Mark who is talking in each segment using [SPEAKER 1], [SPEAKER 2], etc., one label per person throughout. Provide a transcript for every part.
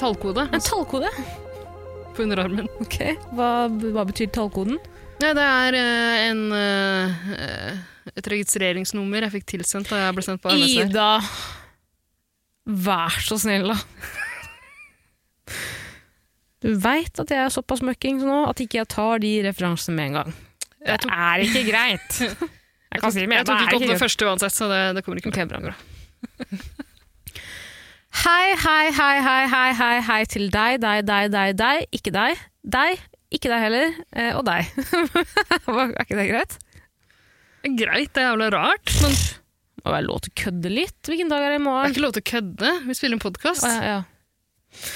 [SPEAKER 1] Tallkode
[SPEAKER 2] En tallkode?
[SPEAKER 1] på underarmen.
[SPEAKER 2] Ok, hva, hva betyr tallkoden?
[SPEAKER 1] Nei, det er eh, en, eh, et registreringsnummer jeg fikk tilsendt da jeg ble sendt på RMSR.
[SPEAKER 2] Ida! Vær så snill, da. Du veit at jeg er såpass møkking nå at ikke jeg tar de referansene med en gang. Det er ikke greit. Jeg kan si det med
[SPEAKER 1] Jeg
[SPEAKER 2] en gang,
[SPEAKER 1] tok ikke
[SPEAKER 2] det er
[SPEAKER 1] opp
[SPEAKER 2] ikke
[SPEAKER 1] den første uansett, så det, det kommer ikke
[SPEAKER 2] Ok, bra, bra. Hei, hei, hei, hei, hei, hei, hei til deg, deg, deg, deg, deg, ikke deg, deg, ikke deg heller, eh, og deg. Var- er ikke det greit?
[SPEAKER 1] Greit, det er jævla rart, men det
[SPEAKER 2] Det må være lov til å kødde litt. Hvilken dag er det i
[SPEAKER 1] er
[SPEAKER 2] morgen?
[SPEAKER 1] ikke lov til å kødde. Vi spiller en podkast.
[SPEAKER 2] Å, ja, ja.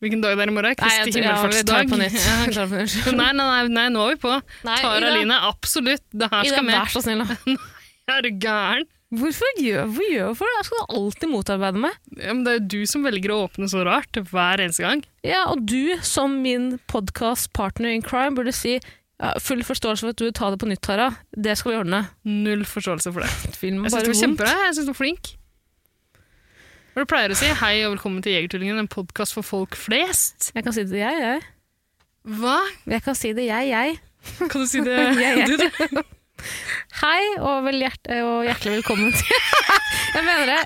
[SPEAKER 1] Hvilken dag det er i morgen?
[SPEAKER 2] Nei, jeg
[SPEAKER 1] Kristi
[SPEAKER 2] tror- ja, vi tar det
[SPEAKER 1] himmelfartsdag.
[SPEAKER 2] på nytt.
[SPEAKER 1] Ja,
[SPEAKER 2] Vi tar det på nytt.
[SPEAKER 1] Nei, nei, nei, nei, nå er vi på.
[SPEAKER 2] Nei,
[SPEAKER 1] Tara
[SPEAKER 2] Ida.
[SPEAKER 1] Line, absolutt. Det her
[SPEAKER 2] Ida,
[SPEAKER 1] skal
[SPEAKER 2] vær
[SPEAKER 1] med.
[SPEAKER 2] så snill. da.
[SPEAKER 1] Er du gæren?
[SPEAKER 2] Hvorfor gjør hvorfor gjør hvorfor det? Jeg skal du alltid motarbeide meg.
[SPEAKER 1] Ja, men det er jo du som velger å åpne så rart hver eneste gang.
[SPEAKER 2] Ja, og du som min podcastpartner in crime burde si ja, full forståelse for at du vil ta det på nytt, Tara. Det skal vi ordne.
[SPEAKER 1] Null forståelse for det.
[SPEAKER 2] Film
[SPEAKER 1] Jeg syns du var kjempebra. Jeg synes du var flink. Hvor du pleier å si 'Hei og velkommen til Jegertvillingen', en podkast for folk flest.
[SPEAKER 2] Jeg kan si det jeg, jeg.
[SPEAKER 1] Hva?
[SPEAKER 2] Jeg kan si det jeg, jeg.
[SPEAKER 1] Kan du si det?
[SPEAKER 2] Jeg, jeg.
[SPEAKER 1] Du, det?
[SPEAKER 2] Hei, og, vel hjert og hjertelig velkommen til Jeg mener det.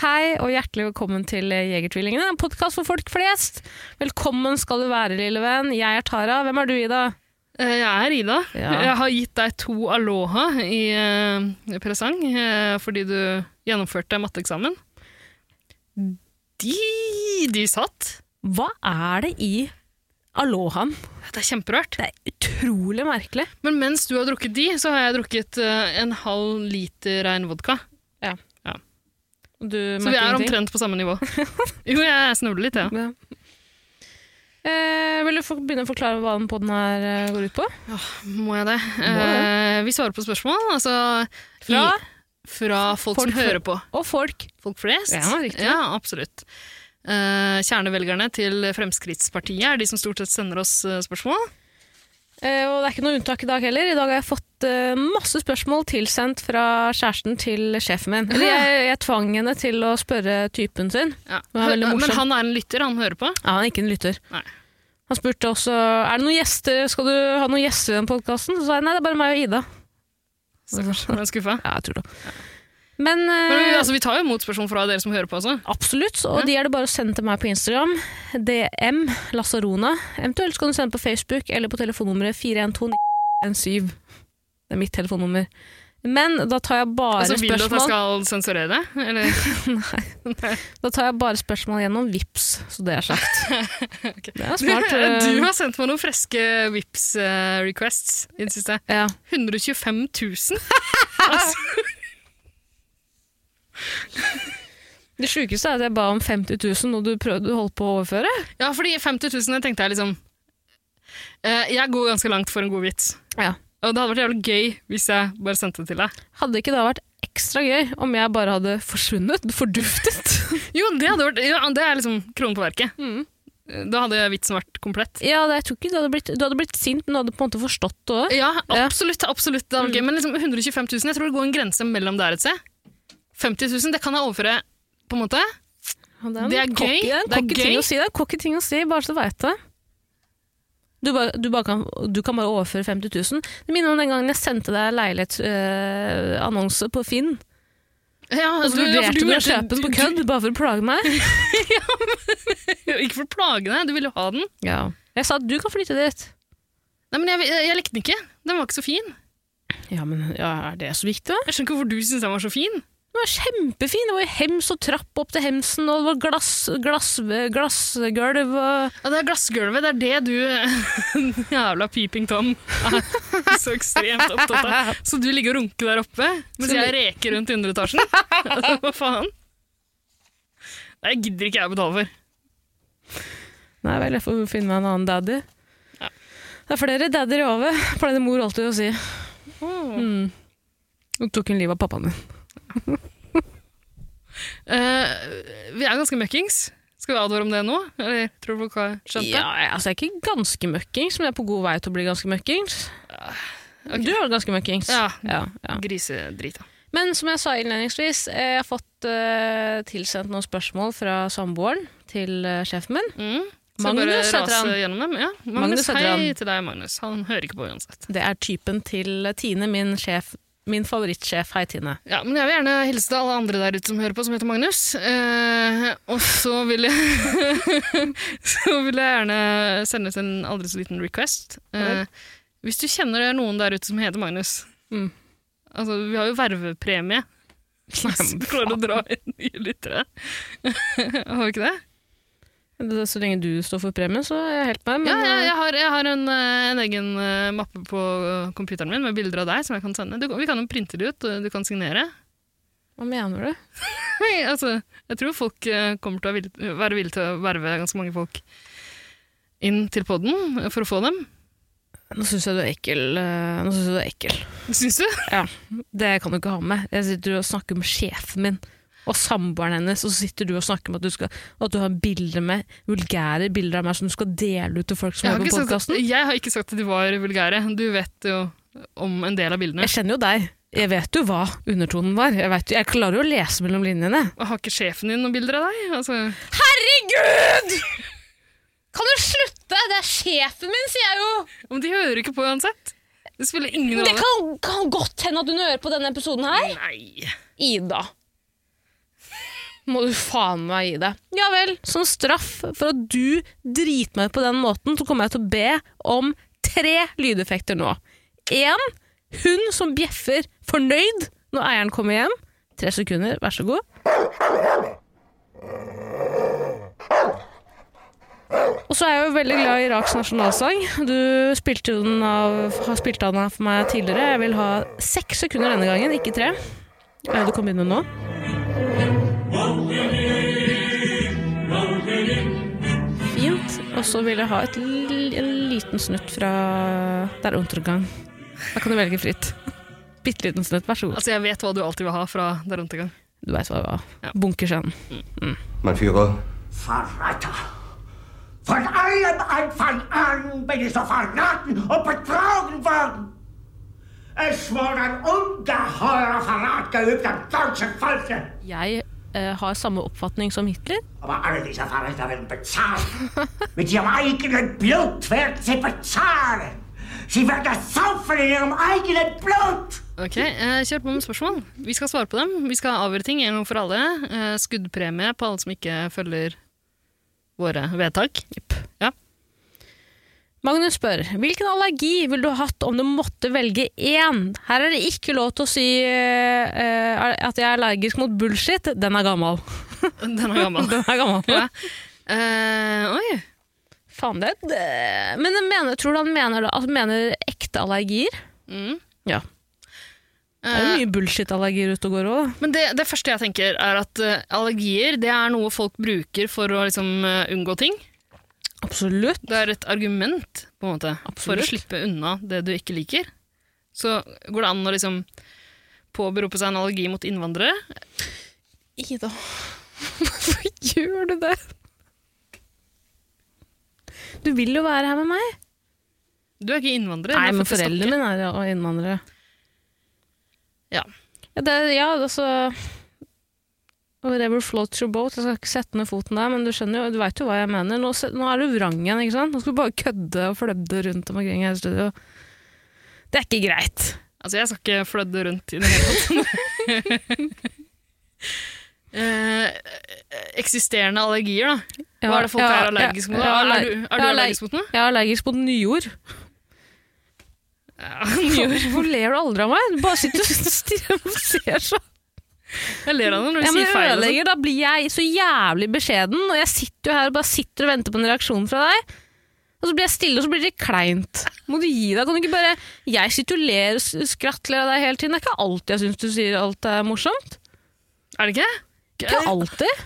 [SPEAKER 2] Hei, og hjertelig velkommen til Jegertvillingene, en podkast for folk flest. Velkommen skal du være, lille venn. Jeg er Tara. Hvem er du, Ida?
[SPEAKER 1] Eh, Jeg er Ida.
[SPEAKER 2] Ja.
[SPEAKER 1] Jeg har gitt deg to aloha i eh, presang eh, fordi du gjennomførte matteeksamen. De, de satt.
[SPEAKER 2] Hva er det i alohaen?
[SPEAKER 1] Det er kjemperart.
[SPEAKER 2] Det er utrolig merkelig.
[SPEAKER 1] Men mens du har drukket de, så har jeg drukket eh, en halv liter rein vodka.
[SPEAKER 2] Du
[SPEAKER 1] Så vi er omtrent på samme nivå. Jo, jeg snubler litt, jeg. Ja.
[SPEAKER 2] Eh, vil du få- begynne å forklare hva den podden her eh, går ut på?
[SPEAKER 1] Må jeg det?
[SPEAKER 2] Må det.
[SPEAKER 1] Eh, vi svarer på spørsmål, altså
[SPEAKER 2] Fra
[SPEAKER 1] i, fra folk,
[SPEAKER 2] Folk
[SPEAKER 1] som
[SPEAKER 2] fl-
[SPEAKER 1] hører på.
[SPEAKER 2] og folk.
[SPEAKER 1] Folk flest.
[SPEAKER 2] Ja, riktig.
[SPEAKER 1] Ja, absolutt. Eh, kjernevelgerne til Fremskrittspartiet er de som stort sett sender oss eh, spørsmål.
[SPEAKER 2] Eh, og det er ikke noe unntak i dag heller. I dag har jeg fått eh, masse spørsmål tilsendt fra kjæresten til sjefen min. Eller jeg, jeg tvang henne til å spørre typen sin.
[SPEAKER 1] Ja.
[SPEAKER 2] Det var veldig
[SPEAKER 1] Men
[SPEAKER 2] morsomt.
[SPEAKER 1] han er en lytter, han hører på.
[SPEAKER 2] Ja, han er ikke en lytter.
[SPEAKER 1] Nei.
[SPEAKER 2] Han spurte også er det noen gjester, skal du ha noen gjester i den podkasten. Så sa jeg nei, det er bare meg og Ida.
[SPEAKER 1] Stakkars, ble han skuffa.
[SPEAKER 2] Ja, jeg tror det. Men, eh,
[SPEAKER 1] Men vi, altså, vi tar jo imot spørsmål fra dere som hører på også.
[SPEAKER 2] absolutt, og de er det bare å sende til meg på Instagram. DM Lasarona. Eventuelt skal du sende på Facebook eller på telefonnummeret 412917. Det er mitt telefonnummer. Men da tar jeg bare
[SPEAKER 1] Altså, vil du at jeg
[SPEAKER 2] spørsmål
[SPEAKER 1] skal sensurere det? Eller?
[SPEAKER 2] Da tar jeg bare spørsmål gjennom VIPS, så det er sagt. Det er smart. eh.
[SPEAKER 1] Du har sendt meg noen freske vips eh, requests i det siste.
[SPEAKER 2] eh, Ja.
[SPEAKER 1] 125 000? altså,
[SPEAKER 2] Det sjukeste er at jeg ba om 50 000, og du, prøvde, du holdt på å overføre.
[SPEAKER 1] ja, fordi 50 000 tenkte jeg liksom eh, Jeg går ganske langt for en god vits.
[SPEAKER 2] Ja.
[SPEAKER 1] Og det hadde vært jævlig gøy hvis jeg bare sendte det til deg.
[SPEAKER 2] Hadde ikke da vært ekstra gøy om jeg bare hadde forsvunnet, forduftet?
[SPEAKER 1] Jo, det hadde vært ja, Det er liksom kronen på verket.
[SPEAKER 2] Mm.
[SPEAKER 1] Da hadde vitsen vært komplett.
[SPEAKER 2] ja, det, jeg tror ikke du hadde blitt, du hadde blitt sint, men du hadde på en måte forstått det òg.
[SPEAKER 1] Ja, absolutt. absolutt det hadde
[SPEAKER 2] Mm.
[SPEAKER 1] vært gøy. Men liksom 125 000, jeg tror det går en grense mellom der et sted. 50 000, det kan jeg overføre på en måte. Det er gøy,
[SPEAKER 2] Det er en
[SPEAKER 1] det er
[SPEAKER 2] cocky
[SPEAKER 1] gøy.
[SPEAKER 2] ting å si, det er en cocky ting å si, bare så du veit det. Du, bare, du, bare kan, du kan bare overføre 50 000. Det minner om den gangen jeg sendte deg leilighetsannonse på Finn.
[SPEAKER 1] Ja,
[SPEAKER 2] Og så
[SPEAKER 1] ja, for
[SPEAKER 2] vurderte Altså, du å
[SPEAKER 1] mente-
[SPEAKER 2] kjøpe den på kødd bare for å plage meg.
[SPEAKER 1] Ikke for å plage deg, du ville jo ha den.
[SPEAKER 2] Ja. Jeg sa at du kan flytte dit.
[SPEAKER 1] Nei, men jeg, jeg, jeg likte den ikke. Den var ikke så fin.
[SPEAKER 2] Ja, men ja, er det så viktig? da?
[SPEAKER 1] Jeg skjønner ikke hvorfor du syns den var så fin.
[SPEAKER 2] Den var kjempefin. Det var jo hems og trapp opp til hemsen, og det var glass, glass, glassgulv og
[SPEAKER 1] Ja, det er glassgulvet, det er det du Jævla peeping Tom er så ekstremt opptatt av. Så du ligger og runker der oppe mens
[SPEAKER 2] Så
[SPEAKER 1] jeg reker rundt i underetasjen? Altså, Hva faen? Nei, jeg gidder ikke jeg å betale for.
[SPEAKER 2] Nei vel, jeg får finne meg en annen daddy.
[SPEAKER 1] Ja.
[SPEAKER 2] Det er flere daddyer i havet, pleide mor alltid å si. Mm. Nå tok hun livet av pappaen din.
[SPEAKER 1] Eh, vi er ganske møkkings. Skal vi advare om det nå? Eller tror du folk har skjønt det?
[SPEAKER 2] Ja, altså jeg er ikke ganske møkkings, men jeg er på god vei til å bli ganske møkkings.
[SPEAKER 1] ok.
[SPEAKER 2] Du er vel ganske møkkings?
[SPEAKER 1] Ja.
[SPEAKER 2] Ah, ja, ja.
[SPEAKER 1] Grisedrit, da.
[SPEAKER 2] Men som jeg sa innledningsvis, eh, jeg har fått eh, tilsendt noen spørsmål fra samboeren til eh, sjefen min.
[SPEAKER 1] Mm.
[SPEAKER 2] Magnus
[SPEAKER 1] Magnus bare
[SPEAKER 2] heter
[SPEAKER 1] rase
[SPEAKER 2] han.
[SPEAKER 1] gjennom dem. Ja.
[SPEAKER 2] Magnus
[SPEAKER 1] Magnus,
[SPEAKER 2] heter
[SPEAKER 1] hei
[SPEAKER 2] han.
[SPEAKER 1] til deg, Magnus. Han hører ikke på uansett.
[SPEAKER 2] Det er typen til Tine, min sjef. Min favorittsjef. Hei, Tine.
[SPEAKER 1] Ja, men jeg vil gjerne hilse til alle andre der ute som hører på, som heter Magnus. Eh, og så vil jeg Så vil jeg gjerne sende ut en aldri så liten request. Eh, hvis du kjenner det er noen der ute som heter Magnus
[SPEAKER 2] Mm.
[SPEAKER 1] Altså, vi har jo vervepremie. Hvis du klarer å dra inn nye lyttere. har vi ikke det?
[SPEAKER 2] Det- Så lenge du står for premien, så er jeg helt med.
[SPEAKER 1] Ja,
[SPEAKER 2] Men, eh,
[SPEAKER 1] jeg, jeg har, jeg har en, eh, en egen eh, mappe på eh, computeren min med bilder av deg som jeg kan sende. Du, kan- vi kan jo printe det ut, og du kan signere.
[SPEAKER 2] Hva mener du?
[SPEAKER 1] Nei, altså, jeg tror folk eh, kommer til å vil- være villige til å verve ganske mange folk inn til podden eh, for å få dem.
[SPEAKER 2] Nå syns jeg du er ekkel. eh, Nå synes jeg du er ekkel.
[SPEAKER 1] Syns du?
[SPEAKER 2] Det kan du ikke ha med. Jeg sitter og snakker med sjefen min og samboeren hennes, og så sitter du og snakker om at du, skal, at du har bilder med vulgære bilder av meg som du skal dele ut til folk som
[SPEAKER 1] Jeg har,
[SPEAKER 2] hører på
[SPEAKER 1] ikke sagt,
[SPEAKER 2] podkasten.
[SPEAKER 1] jeg har ikke sagt at de var vulgære. Du vet jo om en del av bildene.
[SPEAKER 2] Jeg kjenner jo deg. Jeg vet jo hva undertonen var. Jeg, vet, jo- jeg klarer jo å lese mellom linjene.
[SPEAKER 1] Og Har ikke sjefen din noen bilder av deg? Altså,
[SPEAKER 2] Herregud! Kan du slutte? Det er sjefen min, sier jeg jo!
[SPEAKER 1] om de hører ikke på uansett. Det spiller ingen
[SPEAKER 2] Det
[SPEAKER 1] rolle.
[SPEAKER 2] kan, kan godt hende at hun hører på denne episoden her.
[SPEAKER 1] Nei.
[SPEAKER 2] Ida. Må du faen meg gi deg. Ja vel, som straff for at du driter meg ut på den måten, så kommer jeg til å be om tre lydeffekter nå. Én, hun som bjeffer fornøyd når eieren kommer hjem. Tre sekunder, vær så god. Og så er jeg jo veldig glad i Iraks nasjonalsang. Du spilte jo den av, har spilt av den her for meg tidligere. Jeg vil ha seks sekunder denne gangen, ikke tre. Ja, du kan begynne nå. Fint. Og så vil jeg ha et, l- en liten snutt fra Der Untergang. Da kan du velge fritt. Bitte liten snutt, vær så god.
[SPEAKER 1] Altså, jeg vet hva du alltid vil ha fra der rundt i gang.
[SPEAKER 2] Du veit hva det var. Bunkerscenen.
[SPEAKER 3] Mein Führer,
[SPEAKER 4] Verräter! Von allem Anfang an bin ich so verraten und betrogen worden. Es wurde ein ungeheurer Verrat geübt am deutschen Volke.
[SPEAKER 2] Jeg eh, har samme oppfatning som Hitler.
[SPEAKER 4] Aber alle diese Verräter werden bezahlen. Mit ihrem eigenen Blut werden sie bezahlen. Sie werden das saufen in ihrem eigenen Blut.
[SPEAKER 1] Ok, eh, Kjør på med spørsmål. Vi skal svare på dem. Vi skal avgjøre ting en gang for alle. Eh, skuddpremie på alle som ikke følger våre vedtak. Ja.
[SPEAKER 2] Magnus spør hvilken allergi ville du hatt om du måtte velge én? Her er det ikke lov til å si eh, eh, at jeg er allergisk mot bullshit. Den er gammel.
[SPEAKER 1] Den er gammel.
[SPEAKER 2] Den er gammel.
[SPEAKER 1] ja. Eh, oi.
[SPEAKER 2] Faen, det, det Men jeg mener, tror du han mener, det- at han mener ekte allergier?
[SPEAKER 1] Mm.
[SPEAKER 2] Ja. Det er
[SPEAKER 1] Eh,
[SPEAKER 2] jo mye bullshit-allergier ute og går òg.
[SPEAKER 1] Men det, det første jeg tenker er at eh, allergier det er noe folk bruker for å liksom, eh, unngå ting.
[SPEAKER 2] Absolutt.
[SPEAKER 1] Det er et argument på en måte, for å
[SPEAKER 2] Absolutt.
[SPEAKER 1] slippe unna det du ikke liker. Så går det an å liksom, påberope seg en allergi mot innvandrere.
[SPEAKER 2] Ida, hvorfor gjør du det? Du vil jo være her med meg.
[SPEAKER 1] Du er ikke innvandrer.
[SPEAKER 2] Nei,
[SPEAKER 1] du er
[SPEAKER 2] men
[SPEAKER 1] født i
[SPEAKER 2] foreldrene mine er jo innvandrere.
[SPEAKER 1] Ja.
[SPEAKER 2] Ja, det, er- ja altså Whatever floats your boat. Jeg skal ikke sette ned foten der, men du skjønner jo, du veit jo hva jeg mener. Nå, se- nå er du vrang igjen, ikke sant? Nå skal du bare kødde og flødde rundt om omkring her i studio. Det er ikke greit.
[SPEAKER 1] Stokke. Altså, jeg skal ikke flødde rundt i det hele tatt. Eh, eksisterende allergier, da. Hva er det folk er allergiske mot?
[SPEAKER 2] ja,
[SPEAKER 1] er du, er du
[SPEAKER 2] jeg
[SPEAKER 1] allergisk mot noe?
[SPEAKER 2] Jeg er allergisk mot nyord. Hvorfor ler du aldri av meg? Du bare sitter og stirrer og ser så
[SPEAKER 1] Jeg ler av det når du
[SPEAKER 2] Ja, men
[SPEAKER 1] sier feil. og sånn.
[SPEAKER 2] ødelegger, da blir jeg så jævlig beskjeden, og jeg sitter jo her og bare sitter og venter på en reaksjon fra deg. Og så blir jeg stille, og så blir det kleint. Må du gi deg? Kan du ikke bare Jeg sitter og ler og s- skrattler av deg hele tiden. Det er ikke alltid jeg syns du sier alt er morsomt.
[SPEAKER 1] Er det ikke?
[SPEAKER 2] Ikke alltid.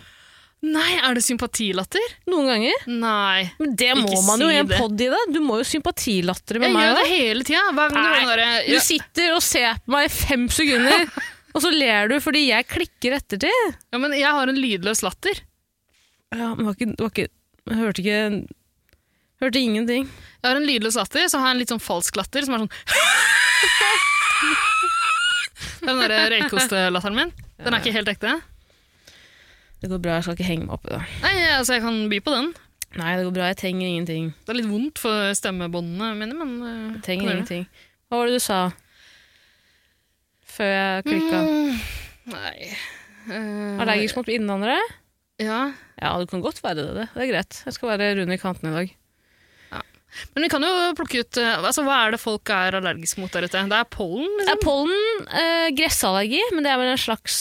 [SPEAKER 1] Nei, er det sympatilatter?
[SPEAKER 2] Noen ganger.
[SPEAKER 1] Nei.
[SPEAKER 2] Men det må
[SPEAKER 1] Ikke
[SPEAKER 2] man jo
[SPEAKER 1] si
[SPEAKER 2] i en
[SPEAKER 1] det.
[SPEAKER 2] pod i det. Du må jo sympatilattre med
[SPEAKER 1] Jeg
[SPEAKER 2] meg.
[SPEAKER 1] gjør det
[SPEAKER 2] da.
[SPEAKER 1] hele tida. Hver gang det er den derre-
[SPEAKER 2] Du sitter og ser på meg i fem sekunder, og så ler du fordi jeg klikker ettertid.
[SPEAKER 1] ja, men jeg har en lydløs latter.
[SPEAKER 2] Ja, men det var ikke, det var ikke Jeg hørte ikke Hørte ingenting.
[SPEAKER 1] Jeg har en lydløs latter, så har jeg en litt sånn falsk latter som er sånn Det er den derre røykostelatteren min. Den er ikke helt ekte.
[SPEAKER 2] Det går bra, jeg skal ikke henge meg opp i det.
[SPEAKER 1] Nei, altså jeg kan by på den.
[SPEAKER 2] Nei, det går bra, jeg trenger ingenting.
[SPEAKER 1] Det er litt vondt for stemmebåndene mine, men eh,
[SPEAKER 2] Jeg trenger
[SPEAKER 1] kan gjøre det.
[SPEAKER 2] ingenting. Hva var det du sa? Før jeg klikka.
[SPEAKER 1] Mm, Nei Eh,
[SPEAKER 2] Allergisk mot innvandrere?
[SPEAKER 1] Ja.
[SPEAKER 2] Ja, du kan godt være det. Det Det er greit. Jeg skal være rund i kanten i dag.
[SPEAKER 1] Men vi kan jo plukke ut eh, Altså, Hva er det folk er allergiske mot der ute? Det er pollen?
[SPEAKER 2] Det
[SPEAKER 1] liksom.
[SPEAKER 2] er pollen, eh, gressallergi, men det er vel en slags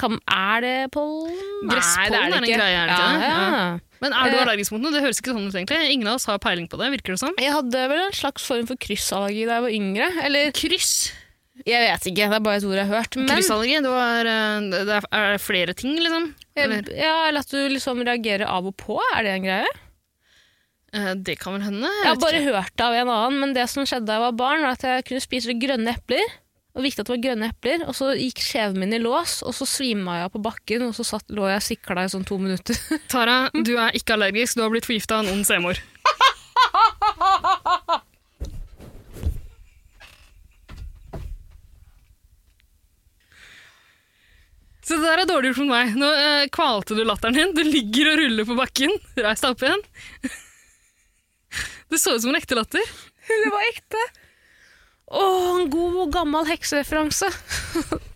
[SPEAKER 2] kan, Er det pollen?
[SPEAKER 1] Gresspollen
[SPEAKER 2] Nei,
[SPEAKER 1] er en greie, er det ikke det?
[SPEAKER 2] Ja, ja.
[SPEAKER 1] Men er du
[SPEAKER 2] Eh,
[SPEAKER 1] allergisk mot noe? Det høres ikke sånn ut, egentlig. Ingen av oss har peiling på det, virker det som.
[SPEAKER 2] Jeg hadde vel en slags form for kryssallergi da jeg var yngre. Eller
[SPEAKER 1] Kryss.
[SPEAKER 2] jeg vet ikke, det er bare et ord jeg har hørt. Men,
[SPEAKER 1] Kryssallergi. Det, var, eh, det er, er det flere ting, liksom? Eller,
[SPEAKER 2] ja, eller at du liksom reagerer av og på, er det en greie?
[SPEAKER 1] eh, det kan vel hende?
[SPEAKER 2] Jeg har bare hørt det av en annen, men det som skjedde da jeg var barn, var at jeg kunne spise grønne epler. Og viktig at det var grønne epler, og så gikk skjeven min i lås, og så svima jeg på bakken, og så satt, lå jeg og sikla i sånn to minutter.
[SPEAKER 1] Tara, du er ikke allergisk. Du har blitt forgifta av en ond semor. Så det der er dårlig gjort mot meg. Nå eh, kvalte du latteren din. Du ligger og ruller på bakken. Reis deg opp igjen. Det så ut som en ekte latter.
[SPEAKER 2] Det var ekte. Å, en god gammel heksereferanse.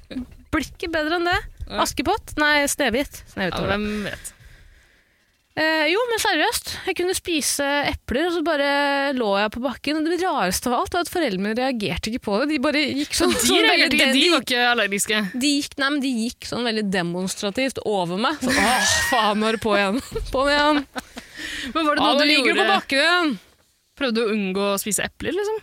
[SPEAKER 2] Blir ikke bedre enn det.
[SPEAKER 1] Ja.
[SPEAKER 2] Askepott? Nei, Snehvit. Snehvit var det.
[SPEAKER 1] hvem vet.
[SPEAKER 2] eh, jo, men seriøst. Jeg kunne spise epler, og så bare lå jeg på bakken. Og det rareste av alt var at foreldrene mine reagerte ikke på det. De bare gikk sånn,
[SPEAKER 1] De,
[SPEAKER 2] sånn
[SPEAKER 1] reagerte
[SPEAKER 2] veldig
[SPEAKER 1] ikke,
[SPEAKER 2] den-
[SPEAKER 1] de var ikke allergiske.
[SPEAKER 2] de gikk, nei, men de gikk sånn veldig demonstrativt over meg. Så, Åh, faen, nå er det på igjen. På igjen.
[SPEAKER 1] Men var det
[SPEAKER 2] Å,
[SPEAKER 1] noe
[SPEAKER 2] nå
[SPEAKER 1] du
[SPEAKER 2] ligger du på
[SPEAKER 1] gjorde?
[SPEAKER 2] bakken igjen.
[SPEAKER 1] Prøvde du å unngå å spise epler, liksom?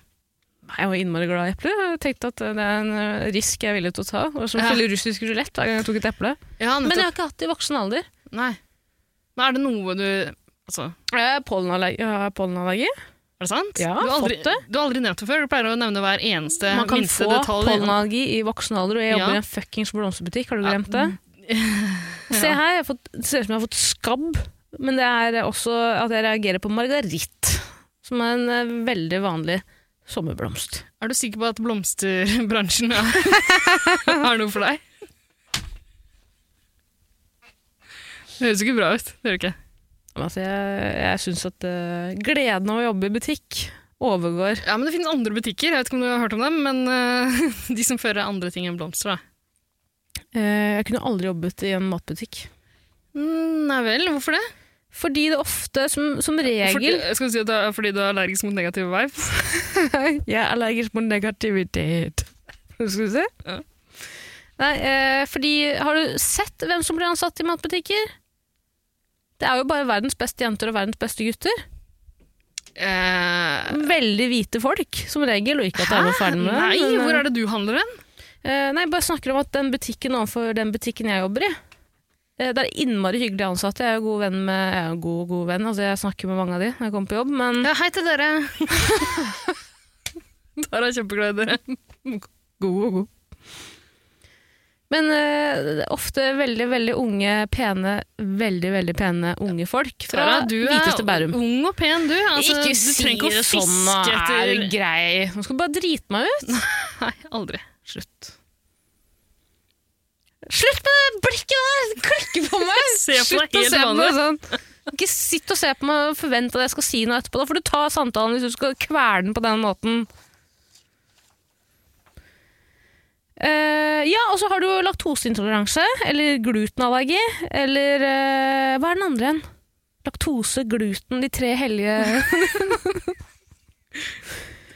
[SPEAKER 2] Nei, Jeg var innmari glad i epler. Jeg tenkte at det er en ø, risk jeg er villig til å ta. Det var som
[SPEAKER 1] Ja.
[SPEAKER 2] å spille russisk rulett hver gang jeg tok et eple.
[SPEAKER 1] Ja,
[SPEAKER 2] Men jeg har ikke hatt det i voksen alder.
[SPEAKER 1] Nei. Men er det noe du Altså,
[SPEAKER 2] Jeg har pollenallergi. Jeg har pollenallergi.
[SPEAKER 1] er det sant?
[SPEAKER 2] Ja,
[SPEAKER 1] du har aldri,
[SPEAKER 2] fått det.
[SPEAKER 1] Du har aldri nevnt det før. Du pleier å nevne hver eneste
[SPEAKER 2] Man kan
[SPEAKER 1] Eh, minste
[SPEAKER 2] få
[SPEAKER 1] detalj.
[SPEAKER 2] pollenallergi i voksen alder, og jeg
[SPEAKER 1] Ja.
[SPEAKER 2] jobber i en fuckings blomsterbutikk. Har du
[SPEAKER 1] Ja.
[SPEAKER 2] glemt det? Se her, jeg har fått, det ser ut som jeg har fått skabb, men det er også at jeg reagerer på margaritt, som er en ø, veldig vanlig sommerblomst.
[SPEAKER 1] Er du sikker på at blomsterbransjen er, er noe for deg? Det høres ikke bra ut. Det gjør det ikke.
[SPEAKER 2] Men Altså, jeg jeg syns at ø, gleden av å jobbe i butikk overgår
[SPEAKER 1] Ja, men Det finnes andre butikker, jeg vet ikke om du har hørt om dem, men eh, de som fører andre ting enn blomster. da.
[SPEAKER 2] Eh, Jeg kunne aldri jobbet i en matbutikk.
[SPEAKER 1] Mm, Nei vel, hvorfor det?
[SPEAKER 2] Fordi det ofte, som, som
[SPEAKER 1] Fordi,
[SPEAKER 2] regel
[SPEAKER 1] skal du si at det er fordi du er allergisk mot negative vibes?
[SPEAKER 2] Jeg er allergisk mot negativitet. Skal vi se?
[SPEAKER 1] Ja.
[SPEAKER 2] Nei, eh, fordi Har du sett hvem som blir ansatt i matbutikker? Det er jo bare verdens beste jenter og verdens beste gutter.
[SPEAKER 1] Eh,
[SPEAKER 2] Veldig hvite folk, som regel. Og ikke at jeg er noe ferdig med
[SPEAKER 1] Nei,
[SPEAKER 2] men,
[SPEAKER 1] hvor er det du handler hen?
[SPEAKER 2] eh, nei, bare snakker om at den butikken overfor den butikken jeg jobber i eh, Det er innmari hyggelige ansatte. Jeg er jo god venn med Jeg er jo god, god venn, altså jeg snakker med mange av de når jeg kommer på jobb, men
[SPEAKER 1] Ja, hei til dere. Tara er kjempeglad i dere.
[SPEAKER 2] God og god. Men eh, det er ofte veldig, veldig unge, pene, veldig, veldig pene unge folk fra
[SPEAKER 1] Tara, du
[SPEAKER 2] hviteste
[SPEAKER 1] er
[SPEAKER 2] Bærum.
[SPEAKER 1] ung og pen, du. Altså, du trenger ikke sånn, å fiske etter
[SPEAKER 2] grei. Nå skal du bare drite meg ut.
[SPEAKER 1] Nei, aldri.
[SPEAKER 2] Slutt. Slutt med det blikket der! Det klikker på meg!
[SPEAKER 1] Se på
[SPEAKER 2] Slutt
[SPEAKER 1] deg
[SPEAKER 2] å
[SPEAKER 1] helt
[SPEAKER 2] se på
[SPEAKER 1] vanlig.
[SPEAKER 2] meg sånn. Ikke sitt og se på meg og forvent at jeg skal si noe etterpå. Da får du ta samtalen hvis du skal kvele den på den måten. Eh, ja, og så har du jo laktoseintoleranse, eller glutenallergi, eller eh, Hva er den andre en? Laktose, gluten, de tre hellige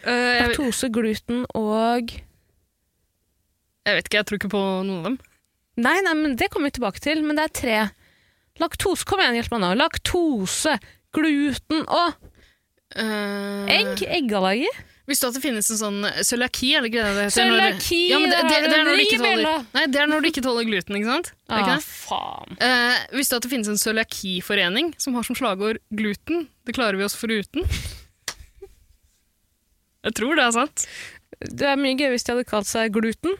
[SPEAKER 1] Eh, jeg,
[SPEAKER 2] Laktose, gluten og
[SPEAKER 1] jeg vet ikke, jeg tror ikke på noen av dem.
[SPEAKER 2] Nei, nei, men det kommer vi tilbake til, men det er tre. Laktose, kom igjen, hjelp meg nå. Laktose, gluten og
[SPEAKER 1] Eh,
[SPEAKER 2] egg. Eggallergi.
[SPEAKER 1] Visste Eh, du at det finnes en sånn cøliaki, eller greia det heter? når-
[SPEAKER 2] Cøliaki,
[SPEAKER 1] Ja, men det,
[SPEAKER 2] der
[SPEAKER 1] det,
[SPEAKER 2] har
[SPEAKER 1] det
[SPEAKER 2] du
[SPEAKER 1] er når du ikke
[SPEAKER 2] vri, Bella.
[SPEAKER 1] tåler Nei, det er når du ikke tåler gluten, ikke sant? Er det
[SPEAKER 2] Ah,
[SPEAKER 1] ikke det?
[SPEAKER 2] faen.
[SPEAKER 1] Eh, visste du at det finnes en cøliakiforening som har som slagord 'gluten'? Det klarer vi oss foruten. Jeg tror det er sant.
[SPEAKER 2] Det er mye gøy hvis de hadde kalt seg gluten.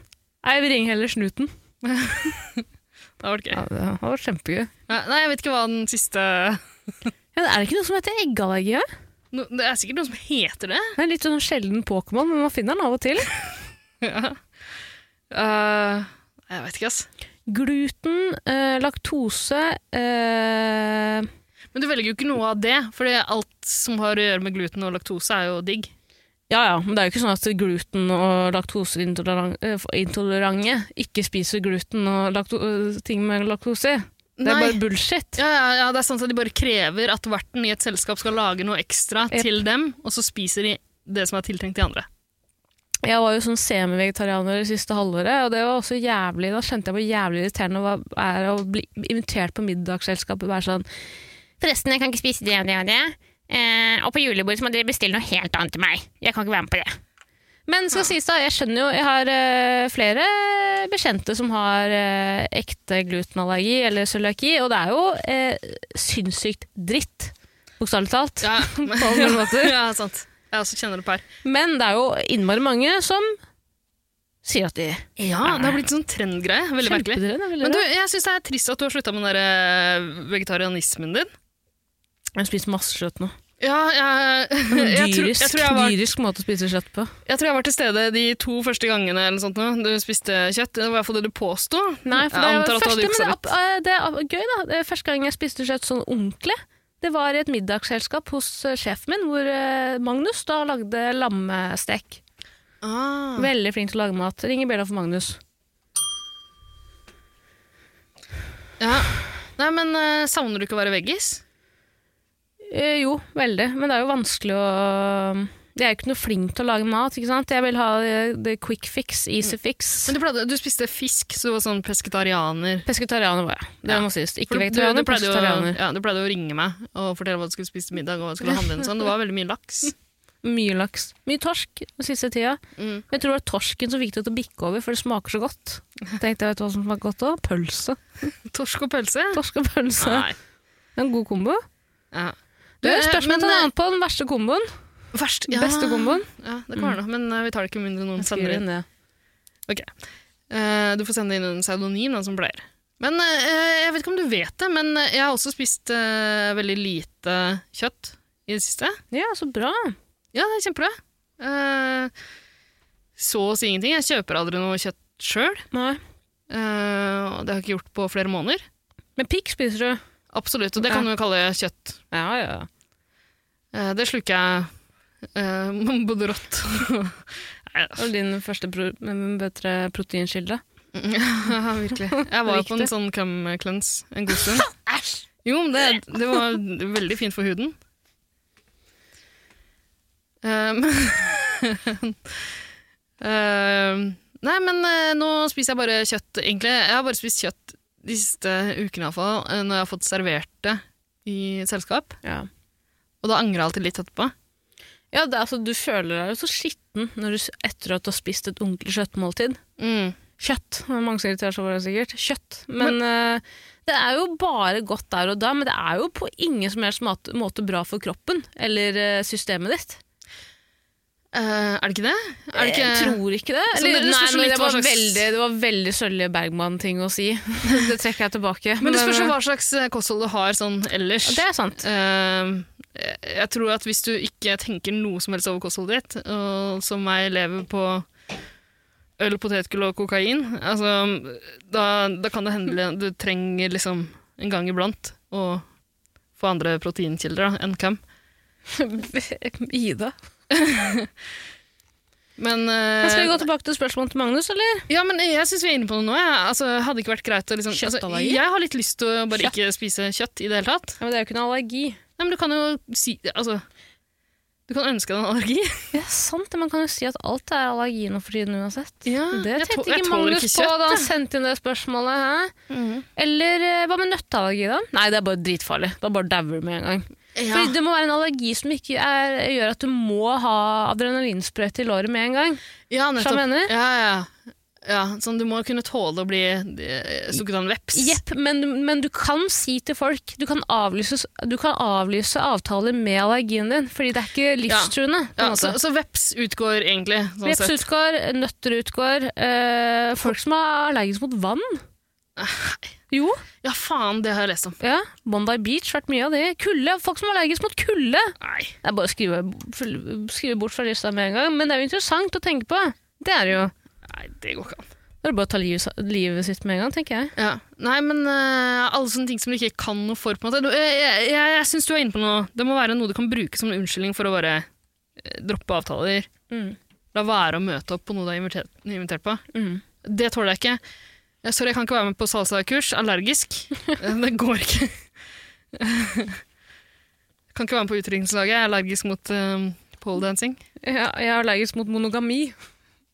[SPEAKER 2] Nei, vi ringer heller snuten.
[SPEAKER 1] Det har vært gøy.
[SPEAKER 2] Ja, det hadde vært kjempegøy.
[SPEAKER 1] Nei, Nei, jeg vet ikke hva den siste
[SPEAKER 2] Ja, er det ikke noe som heter eggallergi? ja?
[SPEAKER 1] no, Det er sikkert noen som heter det.
[SPEAKER 2] Det er litt sånn sjelden Pokémon, men man finner den av og til.
[SPEAKER 1] Ja. Eh, jeg vet ikke, ass.
[SPEAKER 2] Gluten, eh, laktose eh,
[SPEAKER 1] Men du velger jo ikke noe av det, for alt som har å gjøre med gluten og laktose, er jo digg.
[SPEAKER 2] Ja ja, men det er jo ikke sånn at gluten- og laktoseintolerante ikke spiser gluten og lakto eh, ting med laktose i. Det er
[SPEAKER 1] Nei.
[SPEAKER 2] bare bullshit.
[SPEAKER 1] Ja, ja, ja, det er sant at de bare krever at verten i et selskap skal lage noe ekstra
[SPEAKER 2] Jep.
[SPEAKER 1] til dem, og så spiser de det som er tiltenkt de andre.
[SPEAKER 2] Jeg var jo sånn semivegetarianer det siste halvåret, og det var også jævlig, da kjente jeg hvor jævlig irriterende det var- er å bli invitert på middagsselskap og være sånn
[SPEAKER 3] Forresten, jeg kan ikke spise det og det og det. Eh, og på julebordet så må dere bestille noe helt annet til meg. Jeg kan ikke være med på det.
[SPEAKER 2] Men skal sies da, jeg skjønner jo, jeg har eh, flere bekjente som har eh, ekte glutenallergi eller cøliaki, og det er jo eh, sinnssykt dritt, bokstavelig talt.
[SPEAKER 1] Ja,
[SPEAKER 2] På alle mulige måter.
[SPEAKER 1] ja sant. Jeg også kjenner det på her.
[SPEAKER 2] Men det er jo innmari mange som sier at de
[SPEAKER 1] Ja, det har blitt sånn trendgreie. Veldig merkelig.
[SPEAKER 2] kjemper det.
[SPEAKER 1] Men du, jeg syns det er trist at du har slutta med den der eh, vegetarianismen din.
[SPEAKER 2] jeg spiser masse kjøtt nå.
[SPEAKER 1] Ja, jeg,
[SPEAKER 2] Det er
[SPEAKER 1] jeg,
[SPEAKER 2] en
[SPEAKER 1] tror,
[SPEAKER 2] Dyrisk,
[SPEAKER 1] jeg, tror jeg, var,
[SPEAKER 2] dyrisk måte å spise kjøtt på.
[SPEAKER 1] jeg tror jeg var til stede de to første gangene eller noe sånt nå. du spiste kjøtt. Det var iallfall det du påsto.
[SPEAKER 2] Nei, for
[SPEAKER 1] Jeg
[SPEAKER 2] det er
[SPEAKER 1] antar
[SPEAKER 2] jo
[SPEAKER 1] at du hadde
[SPEAKER 2] første, men det,
[SPEAKER 1] juksa
[SPEAKER 2] er- eh, det er gøy da. Det er Første gang jeg spiste kjøtt sånn ordentlig, det var i et middagsselskap hos eh, sjefen min, hvor eh, Magnus da lagde lammestek.
[SPEAKER 1] Ah.
[SPEAKER 2] Veldig flink til å lage mat. Ringer bjella for Magnus.
[SPEAKER 1] Ja. Nei, men eh, savner du ikke å være veggis?
[SPEAKER 2] Eh, jo, veldig. Men det er jo vanskelig å eh, Jeg er jo ikke noe flink til å lage mat. ikke sant? Jeg vil ha eh, the quick fix, easy fix.
[SPEAKER 1] Men du, pleide, du spiste fisk, så du var sånn pesketarianer.
[SPEAKER 2] Pesketarianer var jeg. Det
[SPEAKER 1] Ja.
[SPEAKER 2] må sies.
[SPEAKER 1] For
[SPEAKER 2] Ikke
[SPEAKER 1] du, du,
[SPEAKER 2] vegetarianer,
[SPEAKER 1] du, pleide jo,
[SPEAKER 2] pesketarianer.
[SPEAKER 1] ja, du pleide jo å ringe meg og fortelle hva du skulle spise til middag. og hva du skulle handle inn, sånn. Det var veldig mye laks.
[SPEAKER 2] Mye laks. Mye torsk den siste tida.
[SPEAKER 1] Mm.
[SPEAKER 2] Jeg tror det var torsken som fikk det til å bikke over, for det smaker så godt. Tenkte jeg, vet du hva som smaker godt òg? Pølse.
[SPEAKER 1] Torsk og pølse?
[SPEAKER 2] Torsk og pølse.
[SPEAKER 1] Nei.
[SPEAKER 2] En god kombo.
[SPEAKER 1] Ja.
[SPEAKER 2] Du,
[SPEAKER 1] Eh,
[SPEAKER 2] spørsmål til
[SPEAKER 1] men,
[SPEAKER 2] en annen på den verste komboen.
[SPEAKER 1] Verst,
[SPEAKER 2] Beste komboen.
[SPEAKER 1] Ja, det kan være noe, men eh, vi tar det ikke med mindre noen
[SPEAKER 2] Jeg
[SPEAKER 1] sender
[SPEAKER 2] skriver
[SPEAKER 1] inn.
[SPEAKER 2] inn det.
[SPEAKER 1] Eh, du får sende inn en pseudonym, da, som pleier. Men eh, jeg vet ikke om du vet det, men eh, jeg har også spist eh, veldig lite kjøtt i det siste.
[SPEAKER 2] Ja, så bra.
[SPEAKER 1] Ja, det er kjempebra. Eh, så å si ingenting. Jeg kjøper aldri noe kjøtt sjøl. Eh,
[SPEAKER 2] Nei.
[SPEAKER 1] og det har jeg ikke gjort på flere måneder.
[SPEAKER 2] Men pikk spiser du.
[SPEAKER 1] Absolutt, og det kan du jo kalle kjøtt.
[SPEAKER 2] Ja, ja.
[SPEAKER 1] Eh, det sluker jeg eh, både rått Nei,
[SPEAKER 2] Det var din første pro men bedre proteinkilde.
[SPEAKER 1] ja, Virkelig. Jeg var jo på en
[SPEAKER 2] Riktig.
[SPEAKER 1] sånn crème cleanse en god stund. Jo, men det, det var veldig fint for huden. Um, um, nei, men eh, nå spiser jeg bare kjøtt, egentlig. Jeg har bare spist kjøtt de siste ukene, iallfall, eh, når jeg har fått servert det i et selskap.
[SPEAKER 2] Ja.
[SPEAKER 1] Og da angrer jeg alltid litt etterpå.
[SPEAKER 2] Ja, det, er altså, Du føler deg jo så skitten når du, s- etter at du har spist et ordentlig kjøttmåltid.
[SPEAKER 1] Mm.
[SPEAKER 2] Kjøtt. det er Mange som irriterer seg over det, sikkert. Kjøtt. Men, eh, det er jo bare godt der og da, men det er jo på ingen som helst mat- måte bra for kroppen eller eh, systemet ditt.
[SPEAKER 1] Eh, er det ikke det? Er det ikke
[SPEAKER 2] Jeg tror ikke det.
[SPEAKER 1] Så
[SPEAKER 2] Eller,
[SPEAKER 1] det- det
[SPEAKER 2] nei,
[SPEAKER 1] spørs jo
[SPEAKER 2] men
[SPEAKER 1] litt
[SPEAKER 2] det,
[SPEAKER 1] hva
[SPEAKER 2] var
[SPEAKER 1] slags-
[SPEAKER 2] veldig, det var veldig Sølje Bergman-ting å si. det trekker jeg tilbake.
[SPEAKER 1] Men det spørs jo hva slags eh, kosthold du har sånn ellers.
[SPEAKER 2] Det er sant.
[SPEAKER 1] Ehm, jeg- jeg tror at hvis du ikke tenker noe som helst over kostholdet ditt, og som meg lever på øl, potetgull og kokain, altså, da, da kan det
[SPEAKER 2] Mm.
[SPEAKER 1] hende du trenger liksom en gang iblant å få andre proteinkilder da, enn hvem.
[SPEAKER 2] Ida.
[SPEAKER 1] Men, eh,
[SPEAKER 2] Men skal vi gå tilbake til spørsmålet til Magnus, eller?
[SPEAKER 1] ja, men jeg syns vi er inne på det nå. Jeg. Altså, hadde ikke vært greit å liksom, altså,
[SPEAKER 2] Kjøttallergi?
[SPEAKER 1] Jeg har litt lyst til å bare ikke spise kjøtt i det hele tatt.
[SPEAKER 2] Ja, men det er jo ikke noe allergi.
[SPEAKER 1] Nei, men du kan jo si Altså, du kan ønske deg en allergi.
[SPEAKER 2] Ja, sant det. Man kan jo si at alt er allergi nå for tiden uansett.
[SPEAKER 1] Ja,
[SPEAKER 2] Det
[SPEAKER 1] jeg tå-
[SPEAKER 2] tenkte
[SPEAKER 1] jeg
[SPEAKER 2] ikke
[SPEAKER 1] tåler
[SPEAKER 2] Magnus
[SPEAKER 1] ikke
[SPEAKER 2] på
[SPEAKER 1] kjøtt,
[SPEAKER 2] da han
[SPEAKER 1] jeg. Mhm.
[SPEAKER 2] sendte inn det spørsmålet. Hæ? Eller eh, hva med nøtteallergi, da? Nei, det er bare dritfarlig. Da bare dauer du med en gang.
[SPEAKER 1] Ja.
[SPEAKER 2] Fordi det må være en allergi som ikke er, gjør at du må ha adrenalinsprøyte i låret med en gang.
[SPEAKER 1] Ja, nettopp.
[SPEAKER 2] Skjønner du?
[SPEAKER 1] Ja, ja. ja, sånn du må kunne tåle å bli eh, stukket av en veps.
[SPEAKER 2] Jepp, men, men du kan si til folk Du kan avlyse, du kan avlyse avtaler med allergien din, fordi det er ikke livstruende. på en
[SPEAKER 1] Ja,
[SPEAKER 2] måte.
[SPEAKER 1] så, så veps utgår egentlig, sånn
[SPEAKER 2] Veps
[SPEAKER 1] sett.
[SPEAKER 2] utgår, nøtter utgår, eh, folk som er allergiske mot vann. Jo,
[SPEAKER 1] Ja, faen, det har jeg lest om.
[SPEAKER 2] ja. Bondi Beach, vært mye av det. Kulde, folk som er allergiske mot kulde.
[SPEAKER 1] Nei.
[SPEAKER 2] Det er bare å skrive, full- skrive bort fra lista med en gang, men det er jo interessant å tenke på. Det er det jo.
[SPEAKER 1] Nei, det går ikke an.
[SPEAKER 2] Da er det bare å ta livet, livet sitt med en gang, tenker jeg.
[SPEAKER 1] Ja. Nei, men eh, alle sånne ting som du ikke kan noe for, på en måte. Du, jeg jeg, jeg, jeg syns du er inne på noe. Det må være noe du kan bruke som en unnskyldning for å bare eh, droppe avtaler.
[SPEAKER 2] Mm.
[SPEAKER 1] La være å møte opp på noe du er invitert, invitert på.
[SPEAKER 2] Mm.
[SPEAKER 1] Det tåler jeg ikke. Eh, Sorry, jeg kan ikke være med på salsakurs. Allergisk. Eh, Det går ikke. kan ikke være med på utdrikningslaget. Jeg er allergisk mot eh, pole dancing.
[SPEAKER 2] Ja, jeg er allergisk mot monogami.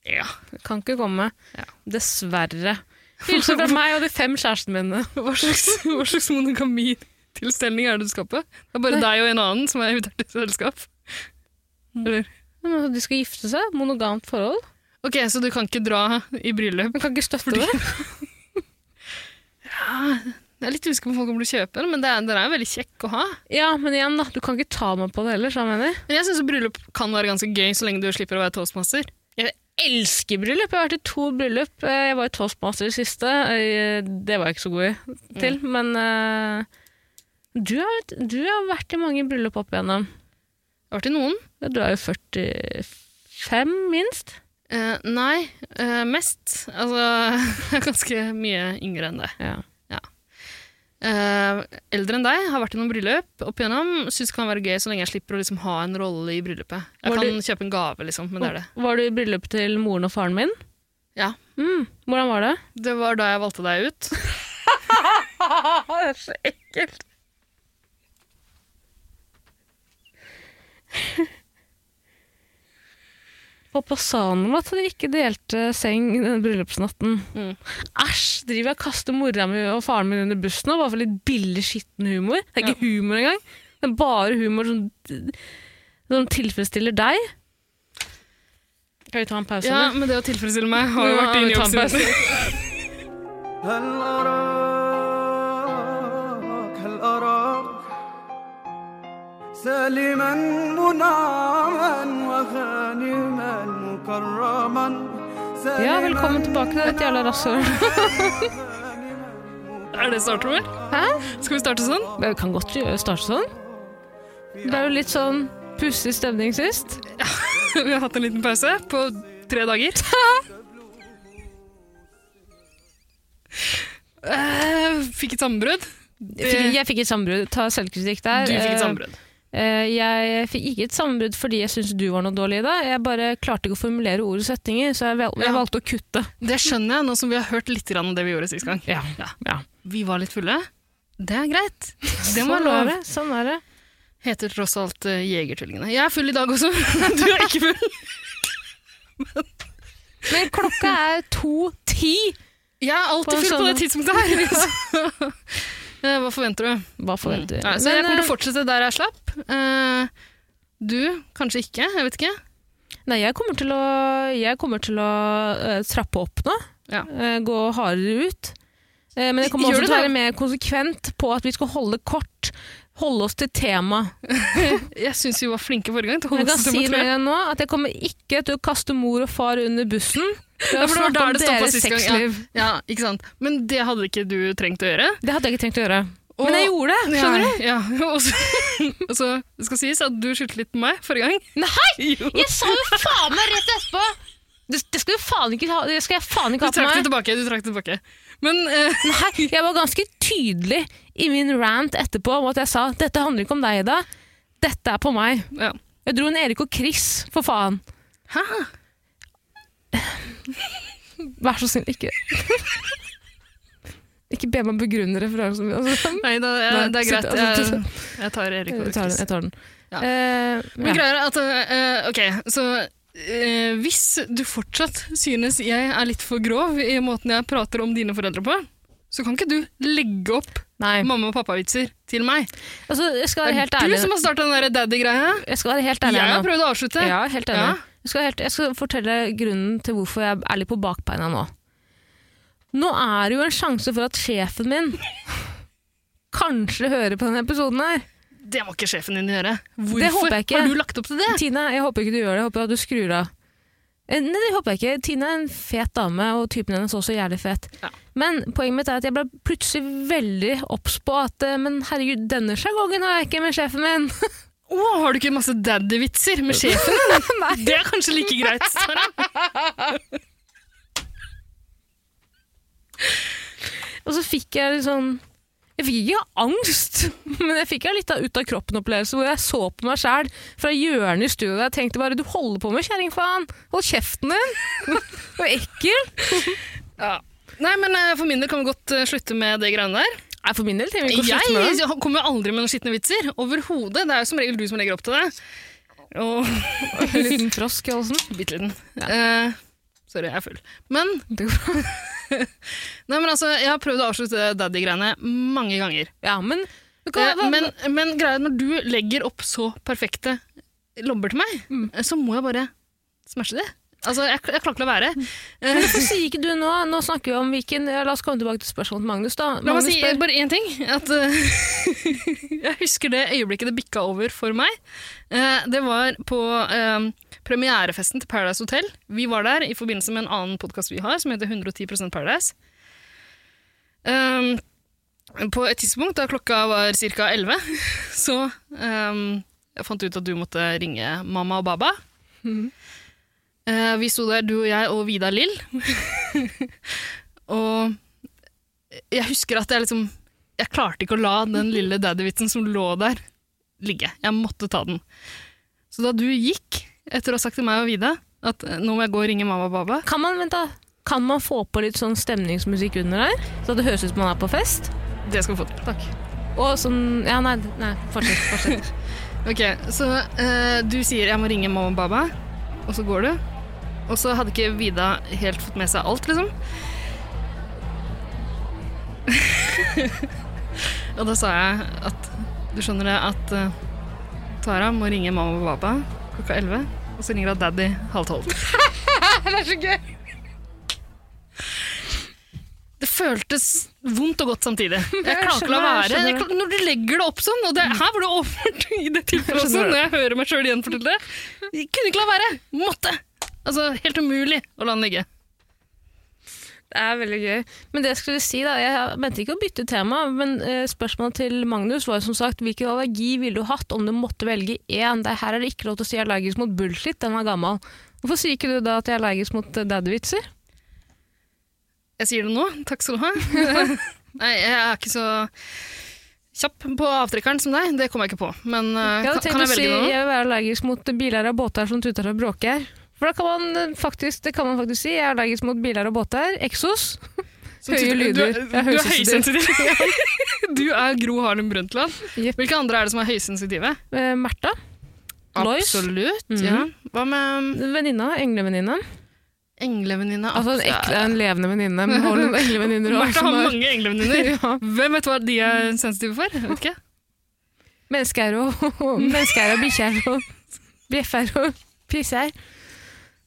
[SPEAKER 1] Ja.
[SPEAKER 2] Kan ikke komme.
[SPEAKER 1] Ja.
[SPEAKER 2] Dessverre. Hilsen fra meg og de fem kjærestene mine.
[SPEAKER 1] Hva slags, hva slags monogamitilstelning er det du skal på? Det er bare
[SPEAKER 2] Nei.
[SPEAKER 1] deg og en annen som er invitert til selskap. Eller?
[SPEAKER 2] Men altså, De skal gifte seg. Monogamt forhold.
[SPEAKER 1] Ok, så du kan ikke dra i bryllup?
[SPEAKER 2] Men kan ikke støtte det.
[SPEAKER 1] Jeg er litt usikker på om folk kommer til å kjøpe den, men det er, den er veldig kjekk å ha.
[SPEAKER 2] Ja, men igjen, da. Du kan ikke ta meg på det heller. skjønner du hva Jeg mener.
[SPEAKER 1] Men jeg syns bryllup kan være ganske gøy, så lenge du slipper å være toastmaster.
[SPEAKER 2] elsker bryllup. Jeg har vært i to bryllup. Eh, Jeg var i toastmaster i siste. Eh, Det var jeg ikke så god i til, men eh, du har, du har vært i mange bryllup opp igjennom.
[SPEAKER 1] Jeg har vært i noen.
[SPEAKER 2] Ja, Du er jo 45, minst.
[SPEAKER 1] Eh, nei, eh, mest. Altså, jeg er ganske mye yngre enn deg.
[SPEAKER 2] Ja.
[SPEAKER 1] Eh, eldre enn deg, har vært i noen bryllup opp igjennom. Syns det kan være gøy så lenge jeg slipper å liksom, ha en rolle i bryllupet. Jeg
[SPEAKER 2] Var
[SPEAKER 1] kan
[SPEAKER 2] det-
[SPEAKER 1] kjøpe en gave, liksom, men det er det.
[SPEAKER 2] Var du i bryllup til moren og faren min?
[SPEAKER 1] Ja.
[SPEAKER 2] Mm. Hvordan var det?
[SPEAKER 1] Det var da jeg valgte deg ut.
[SPEAKER 2] det er så ekkelt. Pappa sa noe om at de ikke delte seng den bryllupsnatten.
[SPEAKER 1] Mm.
[SPEAKER 2] Æsj! Driver jeg og kaster mora mi og faren min under bussen nå, bare for litt billig, skitten humor? Det er ikke humor engang. Det er bare humor som, som tilfredsstiller deg. Kan vi ta en pause?
[SPEAKER 1] Ja,
[SPEAKER 2] eller?
[SPEAKER 1] men det å tilfredsstille meg har jo
[SPEAKER 2] Ja,
[SPEAKER 1] vært din
[SPEAKER 2] vi tar
[SPEAKER 1] jobb
[SPEAKER 2] en pause.
[SPEAKER 1] siden.
[SPEAKER 5] هل أراك هل أراك سالما منعما وغانما مكرما
[SPEAKER 2] Ja, velkommen tilbake til et jævla rasshøl.
[SPEAKER 1] Er det starten vår?
[SPEAKER 2] Hæ?
[SPEAKER 1] Skal vi starte sånn?
[SPEAKER 2] Det kan godt gjø- starte sånn. Det er jo litt sånn pussig stemning sist.
[SPEAKER 1] Vi har hatt en liten pause på tre dager. Eh, fikk et sammenbrudd.
[SPEAKER 2] Jeg fikk, jeg fikk et sambrudd. Ta selvkritikk der.
[SPEAKER 1] Du fikk
[SPEAKER 2] Eh,
[SPEAKER 1] et sammenbrudd.
[SPEAKER 2] eh, Jeg fikk ikke et sambrudd fordi jeg syntes du var noe dårlig i det. Jeg bare klarte ikke å formulere ord og setninger, så jeg, vel, jeg
[SPEAKER 1] Ja.
[SPEAKER 2] valgte å kutte.
[SPEAKER 1] Det skjønner jeg, nå som vi har hørt litt grann om det vi gjorde sist gang.
[SPEAKER 2] Ja.
[SPEAKER 1] Vi var litt fulle. Det er greit. Det må jeg
[SPEAKER 2] sånn er
[SPEAKER 1] love.
[SPEAKER 2] det. Sånn er det.
[SPEAKER 1] Heter tross alt eh, Jegertvillingene. Jeg er full i dag også. Du er ikke full.
[SPEAKER 2] Men klokka er 2.10!
[SPEAKER 1] Jeg er alltid full på det tidspunktet her. Eh, Hva forventer du?
[SPEAKER 2] Hva forventer vi?
[SPEAKER 1] Nei, så jeg
[SPEAKER 2] Men,
[SPEAKER 1] kommer til
[SPEAKER 2] eh,
[SPEAKER 1] å fortsette der jeg slapp. Eh, Du, kanskje ikke. Jeg vet ikke.
[SPEAKER 2] Nei, jeg kommer til å, jeg kommer til å eh, trappe opp nå.
[SPEAKER 1] Ja.
[SPEAKER 2] Eh, gå hardere ut. Eh, men jeg kommer
[SPEAKER 1] Gjør du
[SPEAKER 2] også til å
[SPEAKER 1] det?
[SPEAKER 2] være mer konsekvent på at vi skal holde kort. Holde oss til tema.
[SPEAKER 1] Jeg syns vi var flinke forrige gang. til å
[SPEAKER 2] Jeg
[SPEAKER 1] holde
[SPEAKER 2] kan
[SPEAKER 1] oss til
[SPEAKER 2] si
[SPEAKER 1] nummer
[SPEAKER 2] med
[SPEAKER 1] tre.
[SPEAKER 2] en gang nå at jeg kommer ikke til å kaste mor og far under bussen. Vi
[SPEAKER 1] Ja,
[SPEAKER 2] har
[SPEAKER 1] for det var
[SPEAKER 2] snakket
[SPEAKER 1] der
[SPEAKER 2] om
[SPEAKER 1] det stoppet
[SPEAKER 2] deres
[SPEAKER 1] sist gang. Ja.
[SPEAKER 2] sexliv.
[SPEAKER 1] ja, ikke sant. Men det hadde ikke du trengt å gjøre.
[SPEAKER 2] Det hadde jeg ikke trengt å gjøre.
[SPEAKER 1] Og-
[SPEAKER 2] men jeg gjorde det! Skjønner du?
[SPEAKER 1] Ja, ja. Og så, og så det skal sies at du skyldte litt på meg forrige gang. Nei! Jo.
[SPEAKER 2] Jeg sa jo faen meg rett etterpå! Det, det skal, du faen ikke ha, det skal jeg faen
[SPEAKER 1] Du
[SPEAKER 2] ikke ha på
[SPEAKER 1] trakk det
[SPEAKER 2] meg.
[SPEAKER 1] tilbake. du trakk det tilbake. Men eh,
[SPEAKER 2] Nei, jeg var ganske tydelig i min rant etterpå om at jeg sa dette handler ikke om deg, Ida. Dette er på meg.
[SPEAKER 1] ja.
[SPEAKER 2] Jeg dro en Erik og Chris, for faen.
[SPEAKER 1] Hæ?
[SPEAKER 2] Vær så snill, ikke Ikke be meg begrunne referansen min. Altså.
[SPEAKER 1] Nei, da,
[SPEAKER 2] Nei,
[SPEAKER 1] jeg, det er
[SPEAKER 2] sitt-
[SPEAKER 1] greit.
[SPEAKER 2] altså,
[SPEAKER 1] Jeg, jeg tar Erik og
[SPEAKER 2] Jeg tar den.
[SPEAKER 1] Chris.
[SPEAKER 2] Jeg tar den.
[SPEAKER 1] Ja.
[SPEAKER 2] Eh,
[SPEAKER 1] Men
[SPEAKER 2] ja.
[SPEAKER 1] greier er at eh, Ok, så eh, hvis du fortsatt synes jeg er litt for grov i måten jeg prater om dine foreldre på, så kan ikke du legge opp
[SPEAKER 2] Nei.
[SPEAKER 1] mamma- og pappavitser til meg.
[SPEAKER 2] Altså, jeg
[SPEAKER 1] Det
[SPEAKER 2] skal være
[SPEAKER 1] er
[SPEAKER 2] helt
[SPEAKER 1] du
[SPEAKER 2] ærlig.
[SPEAKER 1] som har starta den der daddy-greia.
[SPEAKER 2] Jeg skal være helt ærlig.
[SPEAKER 1] Jeg
[SPEAKER 2] her
[SPEAKER 1] har
[SPEAKER 2] nå.
[SPEAKER 1] prøvd å avslutte.
[SPEAKER 2] Ja, helt enig.
[SPEAKER 1] Ja.
[SPEAKER 2] Jeg, skal helt, jeg skal fortelle grunnen til hvorfor jeg er litt på bakbeina nå. Nå er det jo en sjanse for at sjefen min kanskje hører på denne episoden her.
[SPEAKER 1] Det må ikke sjefen din gjøre. Hvorfor
[SPEAKER 2] håper jeg ikke.
[SPEAKER 1] har du lagt opp til det?
[SPEAKER 2] Tine, jeg håper ikke du gjør det. Jeg håper at du skrur av. Eh, Nei, det håper jeg ikke. Tine er en fet dame, og typen hennes er også jævlig fet.
[SPEAKER 1] Ja.
[SPEAKER 2] Men poenget mitt er at jeg ble plutselig veldig obs på at eh, Men herregud, denne sjargongen har jeg ikke med sjefen min!
[SPEAKER 1] Å, har du ikke masse daddy-vitser med sjefen din? det er kanskje like greit, Sara.
[SPEAKER 2] Og så fikk jeg litt sånn Jeg fikk ikke angst, men jeg fikk en litt av ut-av-kroppen-opplevelse hvor jeg så på meg sjæl fra hjørnet i stua og jeg tenkte bare 'du holder på med, kjerring, faen! Hold kjeften din!' Du er ekkel.
[SPEAKER 1] Nei, men eh, For min del kan vi godt eh, slutte med det greiene der.
[SPEAKER 2] Nei, for min del trenger vi ikke å slutte med det.
[SPEAKER 1] Jeg kommer jo aldri med noen skitne vitser. Overhodet. Det er jo som regel du som legger opp til det. Og
[SPEAKER 2] En liten frosk i halsen.
[SPEAKER 1] bitte liten. Eh, sorry, jeg er full. Men Nei, men altså, Jeg har prøvd å avslutte det daddy-greiene mange ganger.
[SPEAKER 2] Ja, men du kan-
[SPEAKER 1] Eh, men, men greia er at når du legger opp så perfekte lobber til meg, eh, så må jeg bare smashe det. Altså, jeg, jeg klarer ikke å la være. Eh,
[SPEAKER 2] Hvorfor sier ikke du nå? Nå snakker vi om hvilken ja, La oss komme tilbake til spørsmålet til Magnus, da.
[SPEAKER 1] La meg
[SPEAKER 2] Magnus
[SPEAKER 1] si
[SPEAKER 2] spør-
[SPEAKER 1] bare én ting. At, eh, jeg husker det øyeblikket det bikka over for meg. Eh, det var på eh, premierefesten til Paradise Hotel. Vi var der i forbindelse med en annen podkast vi har, som heter 110 Paradise. Um, på et tidspunkt da klokka var ca. 11, så um, jeg fant ut at du måtte ringe mamma og baba.
[SPEAKER 2] Mm-hmm.
[SPEAKER 1] Eh, vi sto der, du og jeg og Vida Lill. og jeg husker at jeg liksom Jeg klarte ikke å la den lille daddy-vitsen som lå der, ligge. Jeg måtte ta den. Så da du gikk, etter å ha sagt til meg og Vida at eh, nå må jeg gå og ringe mamma og baba
[SPEAKER 2] Kan man, vent da, kan man få på litt sånn stemningsmusikk under der? Så det høres ut som man er på fest?
[SPEAKER 1] Det skal du få til. Takk.
[SPEAKER 2] Og sånn Ja, nei, nei fortsett. fortsett.
[SPEAKER 1] Ok, så eh, du sier jeg må ringe mamma og baba, og så går du. Og så hadde ikke Vida helt fått med seg alt, liksom. og da sa jeg at du skjønner det at eh, Tara må ringe mamma og baba klokka 11, og så ringer hun daddy halv tolv. det er så gøy! Det føltes vondt og godt samtidig. Jeg klarer ikke å la
[SPEAKER 2] skjønner, jeg
[SPEAKER 1] være. Jeg
[SPEAKER 2] skjønner.
[SPEAKER 1] når du legger det opp sånn, og det, her var det overført i det tilfellet også, når jeg hører meg sjøl igjen fortelle det. Jeg kunne ikke la være. Måtte. Altså, helt umulig å la den ligge.
[SPEAKER 2] Det er veldig gøy. Men det jeg skulle si da, jeg mente ikke å bytte tema, men eh, spørsmålet til Magnus var jo som sagt, hvilken allergi ville du hatt om du måtte velge én? Det her er det ikke lov til å si allergisk mot bullshit, den er gammel. Hvorfor sier ikke du da at jeg er allergisk mot eh, daddy-vitser?
[SPEAKER 1] Jeg sier det nå. Takk skal du ha. Nei, jeg er ikke så kjapp på avtrekkeren som deg. Det kom jeg ikke på. Men eh,
[SPEAKER 2] Jeg hadde
[SPEAKER 1] kan,
[SPEAKER 2] tenkt
[SPEAKER 1] kan
[SPEAKER 2] å
[SPEAKER 1] jeg
[SPEAKER 2] si
[SPEAKER 1] velge noe?
[SPEAKER 2] jeg vil være allergisk mot biler og båter som tuter og bråker. For da kan man eh, faktisk, det kan man faktisk si. Jeg er allergisk mot biler og båter. Eksos.
[SPEAKER 1] Som
[SPEAKER 2] høye
[SPEAKER 1] tyder-
[SPEAKER 2] lyder.
[SPEAKER 1] Du,
[SPEAKER 2] Jeg
[SPEAKER 1] er-
[SPEAKER 2] er
[SPEAKER 1] du er høysensitiv. du er Gro Harlem Brundtland.
[SPEAKER 2] Jepp.
[SPEAKER 1] Hvilke andre er det som er høysensitive?
[SPEAKER 2] Eh, Märtha. Lois.
[SPEAKER 1] Absolutt.
[SPEAKER 2] Mhm.
[SPEAKER 1] ja. Hva med um,
[SPEAKER 2] Venninna. Englevenninne.
[SPEAKER 1] englevenninne?
[SPEAKER 2] Altså en, ekte, en levende venninne. men hold en englevenninne og-
[SPEAKER 1] Martha
[SPEAKER 2] som
[SPEAKER 1] har
[SPEAKER 2] er-
[SPEAKER 1] mange englevenninner.
[SPEAKER 2] Ja.
[SPEAKER 1] Hvem vet hva de er sensitive for? Jeg Vet ikke.
[SPEAKER 2] Mennesker og Mennesker og bikkjer og bjeffer og pisser.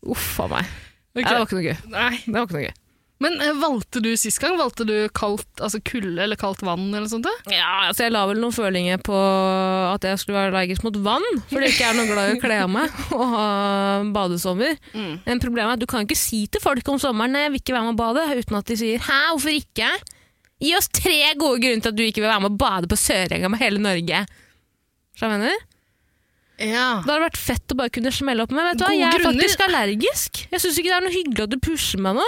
[SPEAKER 2] Uff a meg. Nei, Det var ikke noe gøy.
[SPEAKER 1] Eh, Nei.
[SPEAKER 2] Det var ikke noe gøy.
[SPEAKER 1] Men eh, valgte du sist gang? Valgte du kaldt, altså kulde eller kaldt vann eller noe sånt? da?
[SPEAKER 2] Ja, altså Jeg la vel noen følinger på at jeg skulle være allergisk mot vann, fordi jeg ikke er noe glad i å kle av meg og ha badesommer. Men problemet er at du kan ikke si til folk om sommeren «Nei, jeg vil ikke være med og bade, uten at de sier 'hæ, hvorfor ikke'? Gi oss tre gode grunner til at du ikke vil være med og bade på Sørenga med hele Norge. Skjønner du hva jeg mener?
[SPEAKER 1] Ja.
[SPEAKER 2] Det hadde vært fett å bare kunne smelle opp med. Vet du hva,
[SPEAKER 1] Gode
[SPEAKER 2] jeg er
[SPEAKER 1] grunner.
[SPEAKER 2] faktisk allergisk. Jeg syns ikke det er noe hyggelig at du pusher meg nå.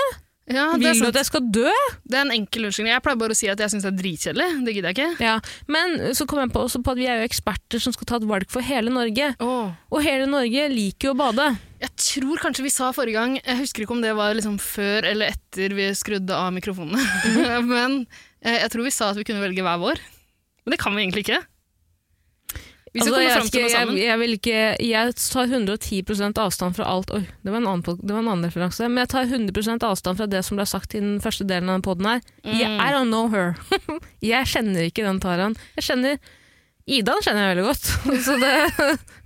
[SPEAKER 1] det, er
[SPEAKER 2] Vil du
[SPEAKER 1] sant.
[SPEAKER 2] at jeg skal dø?
[SPEAKER 1] det er en enkel unnskyldning. Jeg pleier bare å si at jeg syns det er dritkjedelig. Det gidder jeg ikke.
[SPEAKER 2] Ja. Men så kom jeg på, også på at vi er jo eksperter som skal ta et valg for hele Norge. Og hele Norge liker jo å bade.
[SPEAKER 1] Jeg tror kanskje vi sa forrige gang, jeg husker ikke om det var liksom før eller etter vi skrudde av mikrofonene,
[SPEAKER 2] Mhm.
[SPEAKER 1] men eh, jeg tror vi sa at vi kunne velge hver vår. Men det kan vi egentlig ikke. Vi skal
[SPEAKER 2] Altså,
[SPEAKER 1] komme
[SPEAKER 2] jeg,
[SPEAKER 1] fram
[SPEAKER 2] vet
[SPEAKER 1] til
[SPEAKER 2] ikke,
[SPEAKER 1] noe
[SPEAKER 2] jeg,
[SPEAKER 1] sammen.
[SPEAKER 2] jeg, vil ikke, jeg tar 110 avstand fra alt Oi, det var, en annen, pod- det var en annen referanse. Men jeg tar 100 avstand fra det som ble sagt i den første delen av den poden her. Jeg- I don't know her. jeg kjenner ikke den Taran. Jeg kjenner Idan kjenner jeg veldig godt. Så det,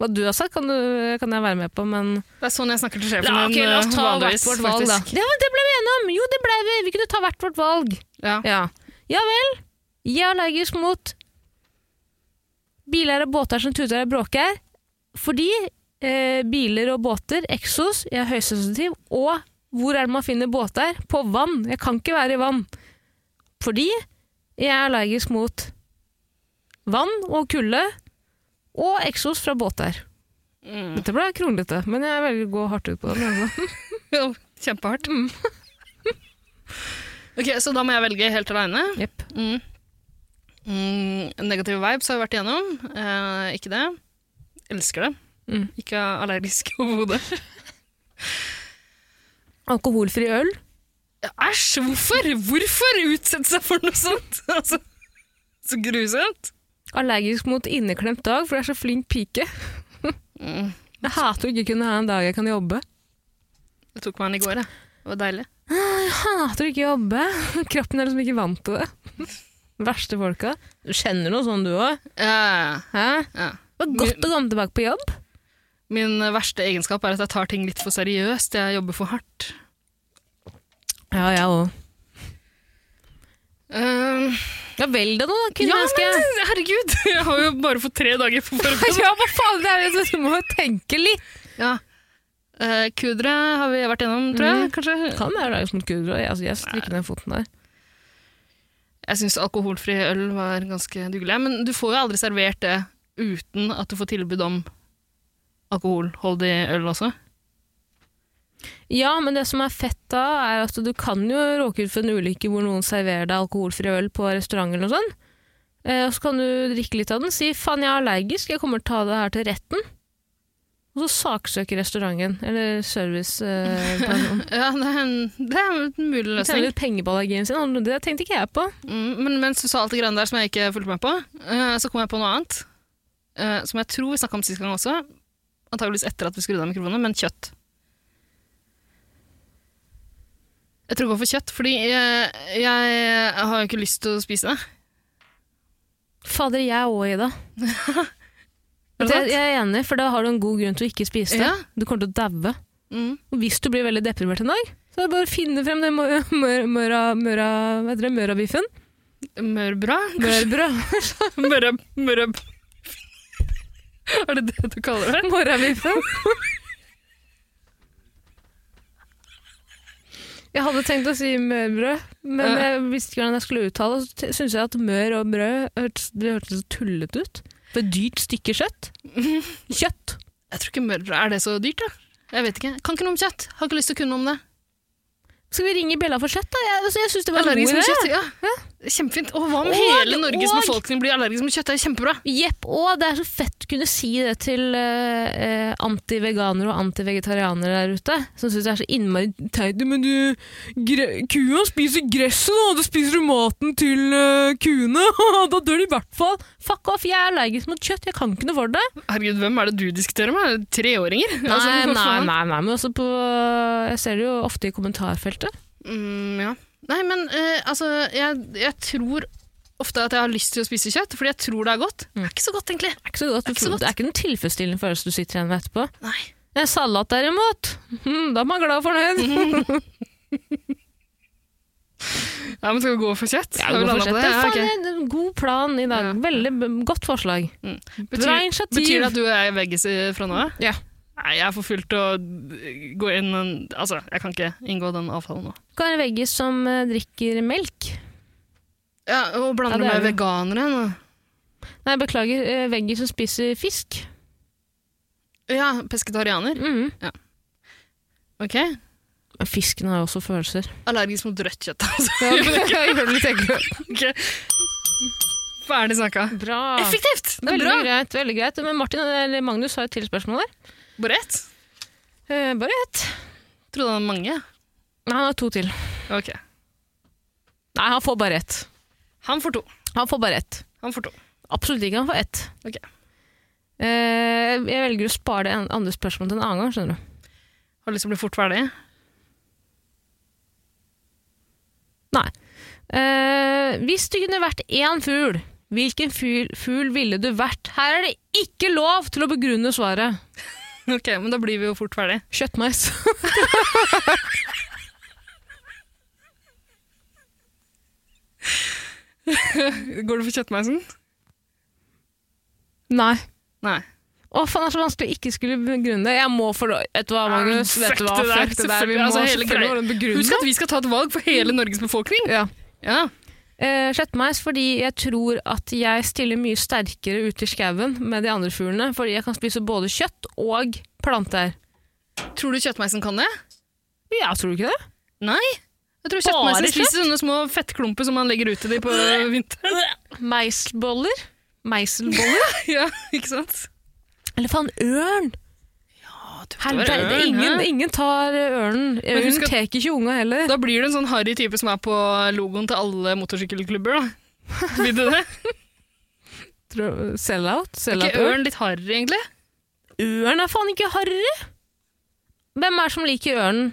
[SPEAKER 2] hva du har sagt, kan, du, kan jeg være med på, men
[SPEAKER 1] Det er sånn jeg snakker til sjefen
[SPEAKER 2] La,
[SPEAKER 1] min
[SPEAKER 2] ok, la oss
[SPEAKER 1] eh,
[SPEAKER 2] ta hvert
[SPEAKER 1] vanligvis.
[SPEAKER 2] vårt valg, da.
[SPEAKER 1] faktisk.
[SPEAKER 2] Ja, men det ble vi enige om! Jo, det ble vi! Vi kunne ta hvert vårt valg.
[SPEAKER 1] Ja.
[SPEAKER 2] Ja, ja vel. Jeg er allergisk mot biler og båter som tuter og bråker. Fordi eh, biler og båter, Exos, jeg er høysensitiv. Og hvor er det man finner båter? På vann. Jeg kan ikke være i vann. Fordi jeg er allergisk mot vann og kulde og Exos fra båter. Dette ble kronglete, men jeg velger å gå hardt ut på det. altså.
[SPEAKER 1] Jo, Kjempehardt. Mm. ok, Så da må jeg velge helt aleine.
[SPEAKER 2] Jepp.
[SPEAKER 1] Mm. Mm, negative vibes har vi vært igjennom. Eh, ikke det. Elsker det.
[SPEAKER 2] Mm.
[SPEAKER 1] Ikke allergisk overhodet.
[SPEAKER 2] Alkoholfri øl.
[SPEAKER 1] Æsj, hvorfor? Hvorfor utsette seg for noe sånt? Altså, så grusomt.
[SPEAKER 2] Allergisk mot inneklemt dag, for jeg er så flink pike. Jeg hater å ikke kunne ha en dag jeg kan jobbe.
[SPEAKER 1] Jeg tok meg en i går, jeg. Det var deilig.
[SPEAKER 2] Jeg hater å ikke jobbe. Kroppen er liksom ikke vant til det. Verste folka. Du kjenner noe sånn du òg.
[SPEAKER 1] Ja,
[SPEAKER 2] Hæ?
[SPEAKER 1] ja.
[SPEAKER 2] Det var godt å komme tilbake på jobb.
[SPEAKER 1] Min verste egenskap er at jeg tar ting litt for seriøst. Jeg jobber for hardt.
[SPEAKER 2] Ja, jeg òg.
[SPEAKER 1] Eh,
[SPEAKER 2] Ja, velg deg noe, da,
[SPEAKER 1] ja,
[SPEAKER 2] kvinnemenneske.
[SPEAKER 1] men herregud! Jeg har jo bare fått tre dager på forberedelse.
[SPEAKER 2] Ja, hva faen, det er det som- du må jo tenke litt.
[SPEAKER 1] Ja. Eh, kudre har vi vært gjennom, tror
[SPEAKER 2] Mm.
[SPEAKER 1] jeg. Kanskje.
[SPEAKER 2] Kan være allergisk mot kudder. og Jeg, altså, jeg strikker ned foten der.
[SPEAKER 1] Jeg syns alkoholfri øl var ganske dugelig. Men du får jo aldri servert det uten at du får tilbud om alkoholholdig øl også.
[SPEAKER 2] Ja, men det som er fett da, er at du kan jo råke ut for en ulykke hvor noen serverer deg alkoholfri øl på restaurant eller noe sånt. Eh, og så kan du drikke litt av den, si 'faen, jeg er allergisk, jeg kommer til å ta det her til retten'. Og så saksøker restauranten, eller servicepersonen. Eh,
[SPEAKER 1] Ja, det er en, det er en mulig
[SPEAKER 2] personen. Tjener
[SPEAKER 1] løsning.
[SPEAKER 2] litt penger på allergien sin, og det tenkte ikke jeg på.
[SPEAKER 1] Mm, men mens du sa alt det greiene der som jeg ikke fulgte med på, eh, så kom jeg på noe annet. eh, som jeg tror vi snakka om sist gang også. Antageligvis etter at vi skrudde av mikrofonene, men kjøtt. Jeg tror jeg går for kjøtt, fordi jeg, jeg har jo ikke lyst til å spise det.
[SPEAKER 2] Fader, jeg òg, Ida.
[SPEAKER 1] Er det
[SPEAKER 2] Jeg,
[SPEAKER 1] sant?
[SPEAKER 2] jeg er enig, for da har du en god grunn til å ikke spise det.
[SPEAKER 1] Ja.
[SPEAKER 2] Du kommer til å daue.
[SPEAKER 1] Mm.
[SPEAKER 2] Og Hvis du blir veldig deprimert en dag, så er det bare å finne frem den mø- mø- møra- møra- hva heter det, mørabiffen.
[SPEAKER 1] Mørbra?
[SPEAKER 2] Mørbrød.
[SPEAKER 1] Mørre... Mørre... Er det det du kaller det?
[SPEAKER 2] Morrabiffen. Jeg hadde tenkt å si mørbrød, men
[SPEAKER 1] Ja.
[SPEAKER 2] jeg visste ikke hvordan jeg skulle uttale det. Så t- syntes jeg at mør og brød hørtes, det hørtes så tullete ut. For et dyrt stykke kjøtt. Kjøtt!
[SPEAKER 1] Jeg tror ikke mørbra Er det så dyrt, da? Jeg vet ikke. Kan ikke noe om kjøtt. Har ikke lyst til å kunne om det.
[SPEAKER 2] Skal vi ringe Bella for kjøtt, da? Jeg, altså, jeg syns det var en
[SPEAKER 1] Allergisk
[SPEAKER 2] god
[SPEAKER 1] mot kjøtt,
[SPEAKER 2] idé.
[SPEAKER 1] ja. Kjempefint. Og hva om
[SPEAKER 2] Og-
[SPEAKER 1] hele Norges
[SPEAKER 2] og-
[SPEAKER 1] befolkning blir allergisk mot kjøtt? Det er kjempebra.
[SPEAKER 2] Jepp, og det er så fett å kunne si det til eh, eh, antiveganere og antivegetarianere der ute, som syns det er så innmari teit. Men du, gre kua spiser gresset, da, og da spiser du maten til eh, kuene, og da dør de i hvert fall. Fuck off, jeg er allergisk mot kjøtt, jeg kan ikke noe for det.
[SPEAKER 1] Herregud, hvem er det du diskuterer med? Er det Treåringer? Altså, hva faen?
[SPEAKER 2] men også på Jeg ser det jo ofte i kommentarfeltet.
[SPEAKER 1] Mm, ja. Nei, men eh, altså, jeg, jeg tror ofte at jeg har lyst til å spise kjøtt, fordi jeg tror det er godt. Det er ikke så godt, egentlig.
[SPEAKER 2] Det er ikke så godt.
[SPEAKER 1] Det er ikke så godt.
[SPEAKER 2] Det er ikke den tilfredsstillende følelsen du sitter igjen med etterpå.
[SPEAKER 1] Nei.
[SPEAKER 2] En salat derimot, hm, da er man glad og fornøyd.
[SPEAKER 1] Ja, men skal vi gå for kjøtt?
[SPEAKER 2] Ja,
[SPEAKER 1] Har vi
[SPEAKER 2] god,
[SPEAKER 1] landet på det?
[SPEAKER 2] fortsett. Det er
[SPEAKER 1] Ja, ok.
[SPEAKER 2] faen en god plan i dag.
[SPEAKER 1] Ja.
[SPEAKER 2] Veldig b- godt forslag. Bra
[SPEAKER 1] Betyr,
[SPEAKER 2] initiativ.
[SPEAKER 1] betyr det at du og jeg er veggis i- eh, fra nå av?
[SPEAKER 2] Ja.
[SPEAKER 1] Nei, jeg er for fullt å gå inn Altså, jeg kan ikke inngå den avtalen nå.
[SPEAKER 2] Du kan være veggis som eh, drikker melk.
[SPEAKER 1] Ja, Og blander
[SPEAKER 2] Ja, det er
[SPEAKER 1] med veganere nå.
[SPEAKER 2] Nei, beklager, eh, veggis som spiser fisk.
[SPEAKER 1] Ja, pesketarianer.
[SPEAKER 2] Mhm.
[SPEAKER 1] Ok.
[SPEAKER 2] Men Fisken har jo også følelser.
[SPEAKER 1] Allergisk mot rødt kjøtt, altså.
[SPEAKER 2] Jeg gjør det litt enklere.
[SPEAKER 1] Ok. Ferdig snakka.
[SPEAKER 2] Bra.
[SPEAKER 1] Effektivt! Det er
[SPEAKER 2] Veldig
[SPEAKER 1] Ah. bra.
[SPEAKER 2] greit. veldig greit. Men Martin, eller Magnus har et til spørsmål der.
[SPEAKER 1] Bare ett?
[SPEAKER 2] Eh, bare ett.
[SPEAKER 1] Trodde han mange.
[SPEAKER 2] Nei, han har to til.
[SPEAKER 1] Ok.
[SPEAKER 2] Nei, han får bare ett.
[SPEAKER 1] Han får to.
[SPEAKER 2] Han får bare ett.
[SPEAKER 1] Han får to.
[SPEAKER 2] Absolutt ikke, han får ett.
[SPEAKER 1] Ok.
[SPEAKER 2] Eh, jeg velger å spare det en- andre spørsmålet til en annen gang, skjønner du.
[SPEAKER 1] Har lyst til å bli fort ferdig.
[SPEAKER 2] Nei. Eh, hvis du kunne vært én fugl, hvilken fugl, fugl ville du vært? Her er det ikke lov til å begrunne svaret.
[SPEAKER 1] Ok, men da blir vi jo fort ferdig.
[SPEAKER 2] Kjøttmeis.
[SPEAKER 1] Går du for kjøttmeisen?
[SPEAKER 2] Nei.
[SPEAKER 1] Nei.
[SPEAKER 2] Å, faen, det er så vanskelig å ikke skulle begrunne det. Jeg må for... Vet du hva, Magnus?
[SPEAKER 1] Ja,
[SPEAKER 2] Vet du hva? Fuck det der. Vi
[SPEAKER 1] selvfølgelig.
[SPEAKER 2] må
[SPEAKER 1] Altså, hele
[SPEAKER 2] selvfølgelig
[SPEAKER 1] greia.
[SPEAKER 2] hvordan
[SPEAKER 1] Husk
[SPEAKER 2] begrunne.
[SPEAKER 1] at vi skal ta et valg for hele Norges befolkning.
[SPEAKER 2] Ja.
[SPEAKER 1] Mm. Ja.
[SPEAKER 2] Eh, Slettmeis fordi jeg tror at jeg stiller mye sterkere ute i skauen med de andre fuglene, fordi jeg kan spise både kjøtt og planter.
[SPEAKER 1] Tror du kjøttmeisen kan det?
[SPEAKER 2] Ja, tror du ikke det?
[SPEAKER 1] Nei. Jeg tror
[SPEAKER 2] Bare
[SPEAKER 1] kjøttmeisen
[SPEAKER 2] kjøtt?
[SPEAKER 1] spiser sånne små fettklumper som man legger ut til dem på vinteren.
[SPEAKER 2] Meiselboller? Meiselboller?
[SPEAKER 1] Ja, ikke sant?
[SPEAKER 2] Eller faen, ørn! Helvete, det er ingen, ingen tar eh, ørnen.
[SPEAKER 1] Men husk
[SPEAKER 2] Ørnen
[SPEAKER 1] at-
[SPEAKER 2] tar ikke unga heller.
[SPEAKER 1] Da blir du en sånn harry type som er på logoen til alle motorsykkelklubber, da. Vil du det?
[SPEAKER 2] Tror- Sell-out?
[SPEAKER 1] Er
[SPEAKER 2] Sell-out
[SPEAKER 1] ikke ørn litt harry, egentlig?
[SPEAKER 2] Ørn er faen ikke harry! Hvem er det som liker ørnen?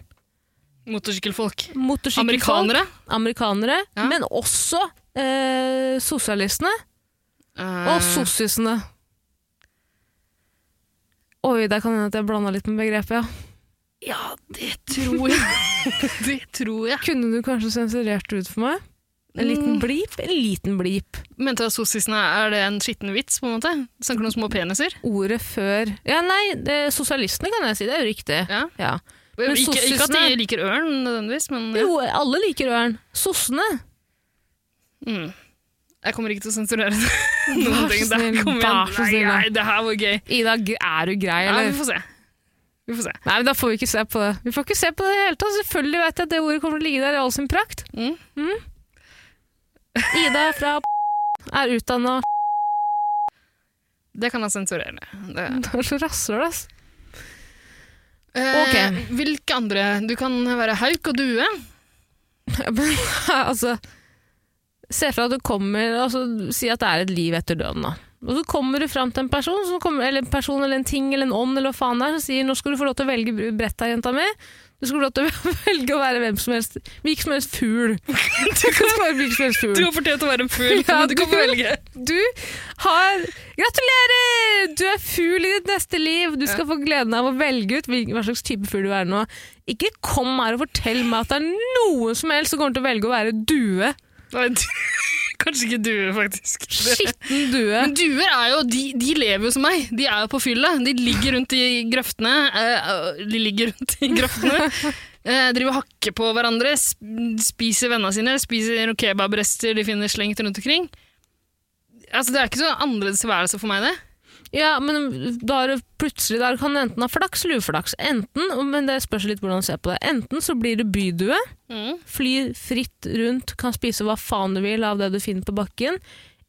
[SPEAKER 1] Motorsykkelfolk.
[SPEAKER 2] Motorsykkelfolk,
[SPEAKER 1] Amerikanere.
[SPEAKER 2] amerikanere
[SPEAKER 1] Ja.
[SPEAKER 2] men også eh, sosialistene
[SPEAKER 1] Eh, Ah.
[SPEAKER 2] og sossisene. Oi, der kan det hende at jeg blanda litt med begrepet, ja.
[SPEAKER 1] Ja, det tror jeg. det tror jeg.
[SPEAKER 2] Kunne du kanskje sensurert det ut for meg? En liten
[SPEAKER 1] Mm.
[SPEAKER 2] blip? En liten blip.
[SPEAKER 1] Mente du at sossisene er det en skitten vits, på en måte? Snakker du om små peniser?
[SPEAKER 2] Ordet før Ja, nei, det, sosialistene kan jeg si. Det er jo riktig.
[SPEAKER 1] Ja.
[SPEAKER 2] Ja. Men
[SPEAKER 1] Ikke, ikke at
[SPEAKER 2] sossisene-
[SPEAKER 1] de liker ørn, nødvendigvis, men ja.
[SPEAKER 2] Jo, alle liker ørn. Sossene.
[SPEAKER 1] mm. Jeg kommer ikke til å sensurere det. Noen
[SPEAKER 2] Vær så
[SPEAKER 1] ting der.
[SPEAKER 2] snill,
[SPEAKER 1] Kom
[SPEAKER 2] vær
[SPEAKER 1] igjen.
[SPEAKER 2] så
[SPEAKER 1] Nei,
[SPEAKER 2] snill, da.
[SPEAKER 1] nei, det her var gøy.
[SPEAKER 2] Ida, g- er du grei,
[SPEAKER 1] Ja,
[SPEAKER 2] eller?
[SPEAKER 1] vi får se. Vi får se.
[SPEAKER 2] Nei, men da får vi ikke se på det. Vi får ikke se på det i det hele tatt. Selvfølgelig vet jeg at det ordet kommer til å ligge der i all sin prakt.
[SPEAKER 1] Mm.
[SPEAKER 2] Mm. Ida fra er utdanna
[SPEAKER 1] Det kan jeg sensurere. Det.
[SPEAKER 2] Du er så rasshøl, ass.
[SPEAKER 1] Eh,
[SPEAKER 2] Ok.
[SPEAKER 1] Hvilke andre? Du kan være hauk og due.
[SPEAKER 2] Men altså Se for deg at du kommer altså, Si at det er et liv etter døden, da. Og så kommer du fram til en person, som kommer, eller en person eller en ting eller en ånd eller hva faen det er, som sier 'nå skal du få lov til å velge br- brett her, jenta mi'. Du skal få lov til å velge å være hvem som helst, hvilken som helst fugl. Du kan være hvilken som helst fugl.
[SPEAKER 1] Du har fortjent å være en fugl,
[SPEAKER 2] Ja,
[SPEAKER 1] men du kan
[SPEAKER 2] du-
[SPEAKER 1] få velge.
[SPEAKER 2] Du har Gratulerer! Du er fugl i ditt neste liv. Du skal få gleden av å velge ut hvil- hva slags type fugl du er nå. Ikke kom her og fortell meg at det er noen som helst som kommer til å velge å være due.
[SPEAKER 1] Nei, du, kanskje ikke due, faktisk. Det-
[SPEAKER 2] Skitten due.
[SPEAKER 1] Men duer er jo, de, de lever jo som meg. De er jo på fylla. De ligger rundt i grøftene. eh, eh, de ligger rundt i grøftene. Eh, driver og hakker på hverandre. sp- Spiser vennene sine. Spiser noen kebabrester de finner slengt rundt omkring. Altså, det er ikke så annerledes tilværelse for meg, det.
[SPEAKER 2] Ja, men da er det plutselig der kan du enten ha flaks eller uflaks. Enten, men det spørs litt hvordan du ser på det. Enten så blir du bydue, flyr fritt rundt, kan spise hva faen du vil av det du finner på bakken.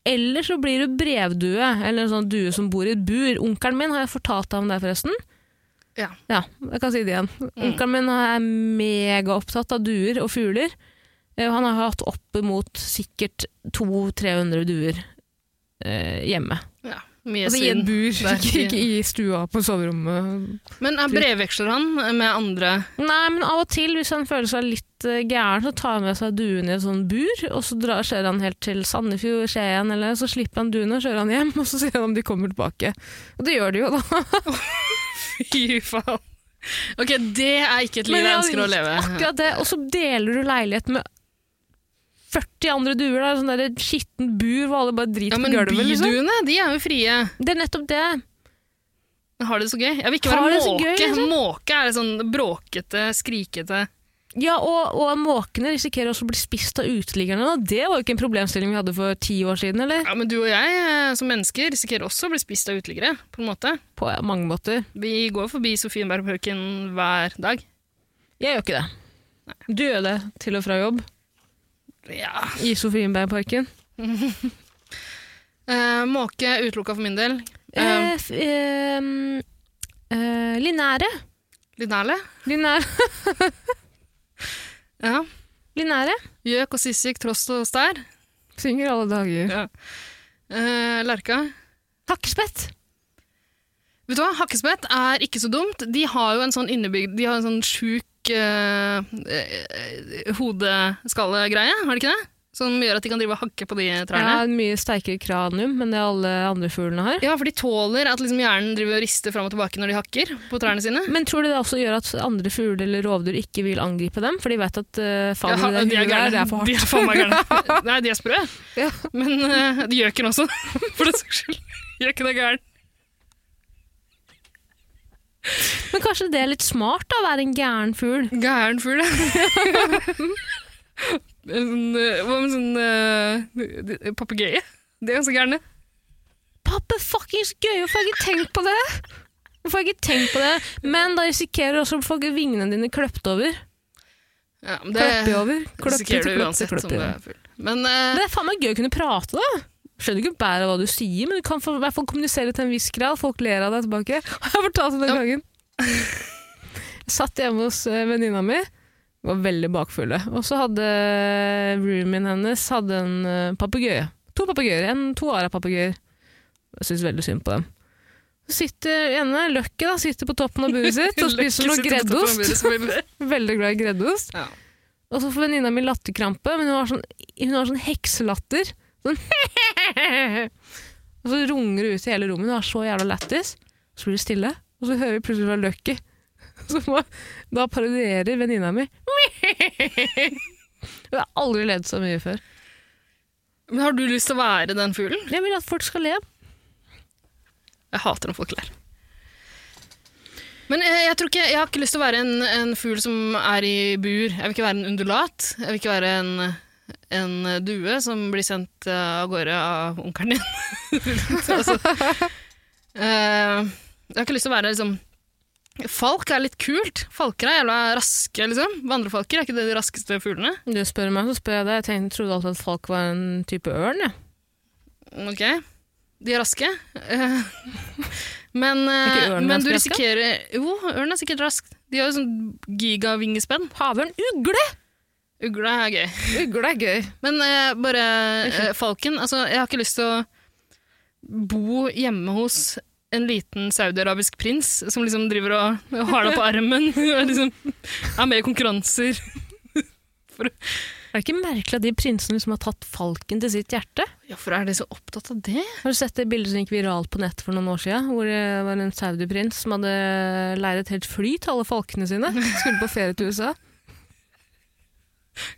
[SPEAKER 2] Eller så blir du brevdue, eller en sånn due som bor i et bur. Onkelen min har jeg fortalt deg om det, forresten.
[SPEAKER 1] Ja.
[SPEAKER 2] Ja, jeg kan si det igjen. Onkelen min er megaopptatt av duer og fugler. Eh, Han har hatt opp mot sikkert 200-300 duer eh, hjemme.
[SPEAKER 1] Ja, mye
[SPEAKER 2] Altså i et
[SPEAKER 1] svin.
[SPEAKER 2] bur,
[SPEAKER 1] Det er
[SPEAKER 2] ikke, ikke i stua på soverommet.
[SPEAKER 1] Men jeg brevveksler han med andre
[SPEAKER 2] Nei, men av og til, hvis han føler seg litt eh, gæren, så tar han med seg duene i et sånt bur, og så drar, kjører han helt til Sandefjord, Skien, eller så slipper han duene og kjører han hjem, og så ser han om de kommer tilbake. Og det gjør de jo, da.
[SPEAKER 1] Fy faen. Ok, det er ikke et liv jeg
[SPEAKER 2] ja,
[SPEAKER 1] ønsker å leve.
[SPEAKER 2] Akkurat det, og så deler du leilighet med 40 andre duer, da, sånn der skitten bur hvor alle bare
[SPEAKER 1] Ja,
[SPEAKER 2] driter
[SPEAKER 1] men
[SPEAKER 2] på gulvet, liksom.
[SPEAKER 1] byduene, de er jo frie.
[SPEAKER 2] Det er nettopp det.
[SPEAKER 1] Har det så gøy. Jeg vil ikke
[SPEAKER 2] Har
[SPEAKER 1] være
[SPEAKER 2] det så
[SPEAKER 1] måke.
[SPEAKER 2] gøy, liksom?
[SPEAKER 1] Måke er sånn bråkete, skrikete
[SPEAKER 2] Ja, og, og måkene risikerer også å bli spist av uteliggerne, og det var jo ikke en problemstilling vi hadde for ti år siden, eller?
[SPEAKER 1] Ja, men du og jeg eh, som mennesker risikerer også å bli spist av uteliggere, på en måte.
[SPEAKER 2] På mange måter.
[SPEAKER 1] Vi går forbi Sofienbergparken hver dag.
[SPEAKER 2] Jeg gjør ikke det. Du gjør det til og fra jobb
[SPEAKER 1] Ja.
[SPEAKER 2] i Sofienbergparken.
[SPEAKER 1] Eh, måke utelukka for min del. Eh,
[SPEAKER 2] Eh, f- eh, mm, eh, lineære.
[SPEAKER 1] Linerle.
[SPEAKER 2] Lineære.
[SPEAKER 1] Ja.
[SPEAKER 2] lineære.
[SPEAKER 1] Gjøk og sissik, trost og stær.
[SPEAKER 2] Synger alle dager.
[SPEAKER 1] Eh, lerka.
[SPEAKER 2] Hakkespett.
[SPEAKER 1] Vet du hva, Hakkespett er ikke så dumt. De har jo en sånn innebygd De har en sånn sjuk eh, eh, hodeskallegreie, har de ikke det? Som gjør at de kan drive og hakke på de
[SPEAKER 2] Jeg
[SPEAKER 1] trærne.
[SPEAKER 2] har mye sterkere kranium enn det alle andre fuglene har.
[SPEAKER 1] Ja, for de tåler at liksom hjernen driver og rister fram og tilbake når de hakker på trærne sine.
[SPEAKER 2] Men tror du det også gjør at andre fugler eller rovdyr ikke vil angripe dem? For de vet at uh, faen,
[SPEAKER 1] Ja,
[SPEAKER 2] det
[SPEAKER 1] de
[SPEAKER 2] huet der, det er for
[SPEAKER 1] De
[SPEAKER 2] hardt.
[SPEAKER 1] er faen meg gærne. Nei, de er sprø.
[SPEAKER 2] Ja.
[SPEAKER 1] Men eh, de gjør ikke den også, for den saks skyld. Gjøken er gæren.
[SPEAKER 2] Men kanskje det er litt smart da, å være en gæren fugl?
[SPEAKER 1] Gæren fugl, ja. En, eh, Hva med sånn uh, papegøye? De er ganske gærne.
[SPEAKER 2] Pappe fuckings gøy, hvorfor har jeg ikke tenkt på det? Hvorfor har jeg ikke tenkt på det? Men da risikerer du også å få vingene dine kløpt over.
[SPEAKER 1] Ja, men
[SPEAKER 2] Kløppe over. Kløppe,
[SPEAKER 1] risikerer du uansett
[SPEAKER 2] kløppe,
[SPEAKER 1] om du
[SPEAKER 2] kløppe.
[SPEAKER 1] er full. Men eh,
[SPEAKER 2] Men det er faen meg gøy å kunne prate, da. Skjønner ikke bæret av hva du sier, men du kan for, i hvert fall kommunisere til en viss grad. Folk ler av deg tilbake. Og jeg fortalte den
[SPEAKER 1] Ja.
[SPEAKER 2] gangen. Jeg satt hjemme hos eh, venninna mi. Vi var veldig bakfulle. Og så hadde roomien hennes hadde en eh, papegøye. To papegøyer. En to arapapegøyer. Jeg syns veldig synd på dem. Så sitter ene, Løkke, da, sitter på toppen av buret sitt og
[SPEAKER 1] Lucky
[SPEAKER 2] spiser noe
[SPEAKER 1] sitter på toppen av
[SPEAKER 2] greddost.
[SPEAKER 1] bordet, selvfølgelig.
[SPEAKER 2] Veldig glad i greddost.
[SPEAKER 1] Ja.
[SPEAKER 2] Og så får venninna mi latterkrampe, men hun har sånn, hun har sånn hekselatter. Sånn Og så runger det ut i hele rommet. Hun har så jævla lættis. Så blir det stille, og så hører vi plutselig fra Lucky. Så må, da parodierer venninna mi. Hun har aldri ledd så mye før.
[SPEAKER 1] Men har du lyst til å være den fuglen?
[SPEAKER 2] Jeg vil at folk skal le.
[SPEAKER 1] Jeg hater når folk ler. Men eh, jeg, tror ikke, jeg har ikke lyst til å være en, en fugl som er i bur. Jeg vil ikke være en undulat. Jeg vil ikke være en, en due som blir sendt eh, av gårde av onkelen din. altså, eh, jeg har ikke lyst til å være liksom Falk er litt kult. Falker er jævla raske, liksom. Vandrefalker er ikke de raskeste fuglene.
[SPEAKER 2] Du spør meg, så spør jeg deg. Jeg tenkte, trodde alltid at folk var en type ørn. Ja.
[SPEAKER 1] Ok, de er raske. Eh, Men, eh,
[SPEAKER 2] ikke
[SPEAKER 1] men
[SPEAKER 2] ørnen ganske
[SPEAKER 1] du
[SPEAKER 2] raske?
[SPEAKER 1] risikerer Jo, ørnen er sikkert rask. De har jo sånn gigavingespenn.
[SPEAKER 2] Havørn. Ugle!
[SPEAKER 1] Ugle er gøy.
[SPEAKER 2] Ugle er gøy.
[SPEAKER 1] Men eh, bare eh, falken altså, Jeg har ikke lyst til å bo hjemme hos en liten saudiarabisk prins som liksom driver og har deg på armen og liksom er med i konkurranser.
[SPEAKER 2] Er det ikke merkelig at de prinsene liksom har tatt falken til sitt hjerte?
[SPEAKER 1] Hvorfor er de så opptatt av det?
[SPEAKER 2] Har du sett det bildet som gikk viralt på nettet for noen år siden? Hvor det var en saudiprins som hadde leid et helt fly til alle falkene sine. Skulle på ferie til USA.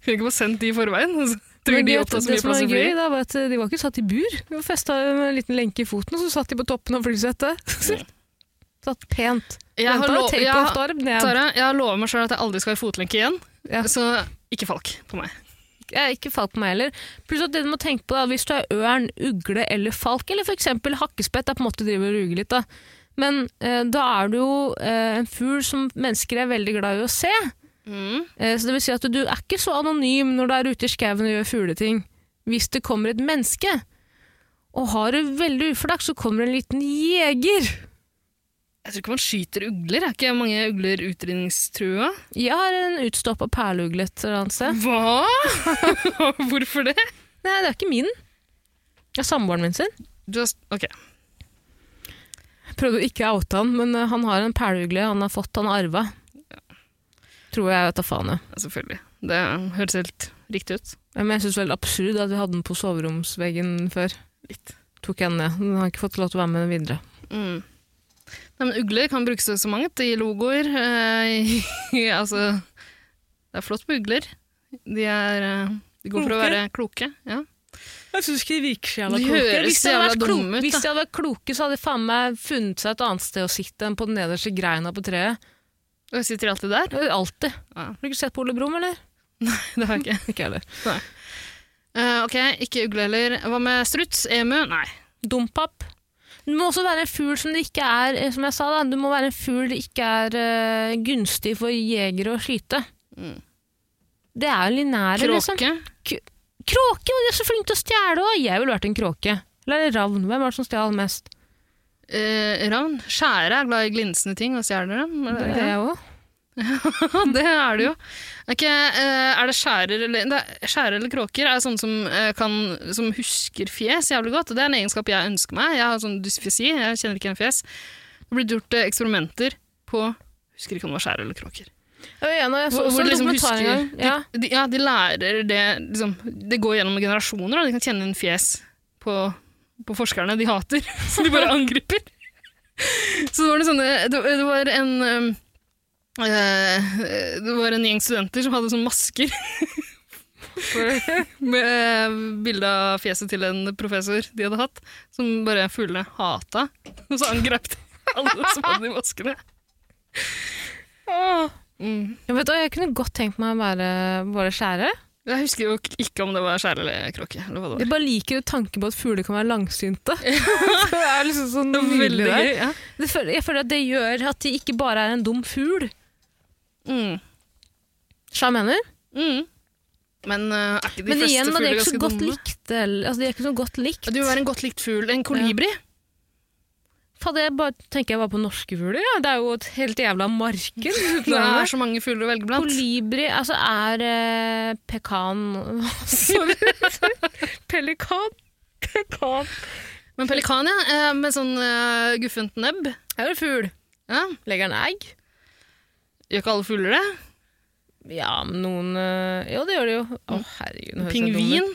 [SPEAKER 1] Kunne ikke få sendt de i forveien. Altså. Tror
[SPEAKER 2] Men
[SPEAKER 1] de
[SPEAKER 2] det-
[SPEAKER 1] åtte har så
[SPEAKER 2] det
[SPEAKER 1] mye
[SPEAKER 2] som var
[SPEAKER 1] plass å bli.
[SPEAKER 2] gøy, da, var at de var ikke satt i bur. De var festa med en liten lenke i foten, og så satt de på toppen av flysettet. satt pent.
[SPEAKER 1] Jeg har lov-
[SPEAKER 2] take
[SPEAKER 1] jeg
[SPEAKER 2] off,
[SPEAKER 1] har-
[SPEAKER 2] da er det ned.
[SPEAKER 1] Tara, jeg har lovet meg sjøl at jeg aldri skal i fotlenke igjen.
[SPEAKER 2] Ja.
[SPEAKER 1] Så ikke falk på meg.
[SPEAKER 2] Jeg er ikke falk på meg heller. Pluss at det du må tenke på da, hvis du er ørn, ugle eller falk, eller for eksempel hakkespett, det er på en måte å drive og ruge litt da. Men eh, da er du jo eh, en fugl som mennesker er veldig glad i å se. Eh, så det vil si at du er ikke så anonym når du er ute i skauen og gjør fugleting, hvis det kommer et menneske. Og har du veldig uflaks, så kommer en liten jeger.
[SPEAKER 1] Jeg tror ikke man skyter ugler. Er ikke mange ugler utrydningstrua?
[SPEAKER 2] Jeg har en utstoppa perleugle et eller annet sted.
[SPEAKER 1] Hva?! Hvorfor det?
[SPEAKER 2] Nei, det er ikke min. Det er samboeren min sin.
[SPEAKER 1] Du har, s- ok.
[SPEAKER 2] prøvde å ikke oute han, men eh, han har en perleugle han har fått, han har arva. Tror jeg, vet da faen. jeg.
[SPEAKER 1] Ja, selvfølgelig. Det høres helt riktig ut.
[SPEAKER 2] Men jeg syns det var helt absurd at vi hadde den på soveromsveggen før.
[SPEAKER 1] Litt.
[SPEAKER 2] Tok jeg den ned. Den har ikke fått lov til å være med videre.
[SPEAKER 1] Mm. Nei, men ugler kan brukes til så mangt. I logoer. Eh, i, altså Det er flott med ugler. De er eh, de går for å
[SPEAKER 2] Kloke.
[SPEAKER 1] være kloke. Ja.
[SPEAKER 2] Jeg syns ikke de virker så
[SPEAKER 1] De høres
[SPEAKER 2] Hvis de hadde
[SPEAKER 1] jævla
[SPEAKER 2] vært,
[SPEAKER 1] dumme ut,
[SPEAKER 2] kloke, hvis
[SPEAKER 1] da.
[SPEAKER 2] de hadde vært kloke, så hadde de faen meg funnet seg et annet sted å sitte enn på den nederste greina på treet.
[SPEAKER 1] Og sitter de alltid der?
[SPEAKER 2] Det er Alltid.
[SPEAKER 1] Ja.
[SPEAKER 2] Har du ikke sett på Ole Brumm, eller?
[SPEAKER 1] Det har jeg ikke.
[SPEAKER 2] Ikke jeg heller.
[SPEAKER 1] Eh, ok, ikke ugle heller. Hva med struts? Emu? Nei.
[SPEAKER 2] Dompap. Du må også være en fugl som det ikke er eh, Som jeg sa, da. Du må være en fugl det ikke er eh, gunstig for jegere å skyte.
[SPEAKER 1] Mm.
[SPEAKER 2] Det er jo linære, liksom.
[SPEAKER 1] Kråke?
[SPEAKER 2] Kråke! men De er så flinke til å stjele òg! Jeg ville vært en kråke. Eller en ravn. Hvem var det som stjal mest?
[SPEAKER 1] Eh, ravn? Skjære er glad i glinsende ting og stjeler dem. Er det,
[SPEAKER 2] jeg òg.
[SPEAKER 1] ja, det er det jo. Ok, eh, er det skjærer eller, det er, skjærer eller kråker er sånne som, eh, kan, som husker fjes jævlig godt. og Det er en egenskap jeg ønsker meg. Jeg har sånn dysfesi, jeg kjenner ikke igjen fjes. Det ble gjort eh, eksperimenter på Husker ikke om det var skjær eller kråker.
[SPEAKER 2] Ja, ja, nå, jeg så
[SPEAKER 1] Hvor- hvor de
[SPEAKER 2] også en
[SPEAKER 1] liksom
[SPEAKER 2] dokumentar en gang.
[SPEAKER 1] husker-
[SPEAKER 2] Ja.
[SPEAKER 1] De, ja, de lærer det liksom, Det går gjennom generasjoner, da. De kan kjenne inn fjes på, på forskerne de hater, så de bare angriper. Så det var, noen sånne, det, det var en um, eh, Det var en gjeng studenter som hadde sånne masker med eh, bilde av fjeset til en professor de hadde hatt, som bare fuglene hata. Og så angrep de alle som hadde de maskene. Mm.
[SPEAKER 2] Ja, vet du, hva, jeg kunne godt tenkt meg å være bare skjære.
[SPEAKER 1] Jeg husker jo k- ikke om det var skjær eller kråke. eller hva det var.
[SPEAKER 2] Jeg bare liker tanken på at fugler kan være langsynte. det er liksom sånn
[SPEAKER 1] Det var
[SPEAKER 2] nydelig
[SPEAKER 1] veldig
[SPEAKER 2] der.
[SPEAKER 1] gøy. Ja.
[SPEAKER 2] Det føler, jeg føler at det gjør at de ikke bare er en dum fugl.
[SPEAKER 1] Mm.
[SPEAKER 2] Skjønner du hva jeg mener?
[SPEAKER 1] Mm. Men eh, er ikke de
[SPEAKER 2] Men
[SPEAKER 1] fleste
[SPEAKER 2] igjen, da, de
[SPEAKER 1] fugler
[SPEAKER 2] er ikke
[SPEAKER 1] ganske
[SPEAKER 2] så godt
[SPEAKER 1] dumme?
[SPEAKER 2] likt. eller- Altså, de er ikke så godt likt.
[SPEAKER 1] Ja, Du vil være en godt likt fugl. En kolibri.
[SPEAKER 2] Fader, jeg bare tenker jeg bare på norske fugler. Ja. Det er jo et helt jævla marked.
[SPEAKER 1] Det er så mange fugler å velge blant.
[SPEAKER 2] Kolibri altså er eh, pekan Sorry. Pelikan. Pekan.
[SPEAKER 1] Men pelikan, ja. eh, Med sånn eh, guffent nebb.
[SPEAKER 2] Er jo en fugl.
[SPEAKER 1] Ja.
[SPEAKER 2] Legger den egg?
[SPEAKER 1] Gjør ikke alle fugler det?
[SPEAKER 2] Ja, men noen eh, Jo, det gjør det jo. Å, herregud. nå høres jeg dum ut.
[SPEAKER 1] Pingvin.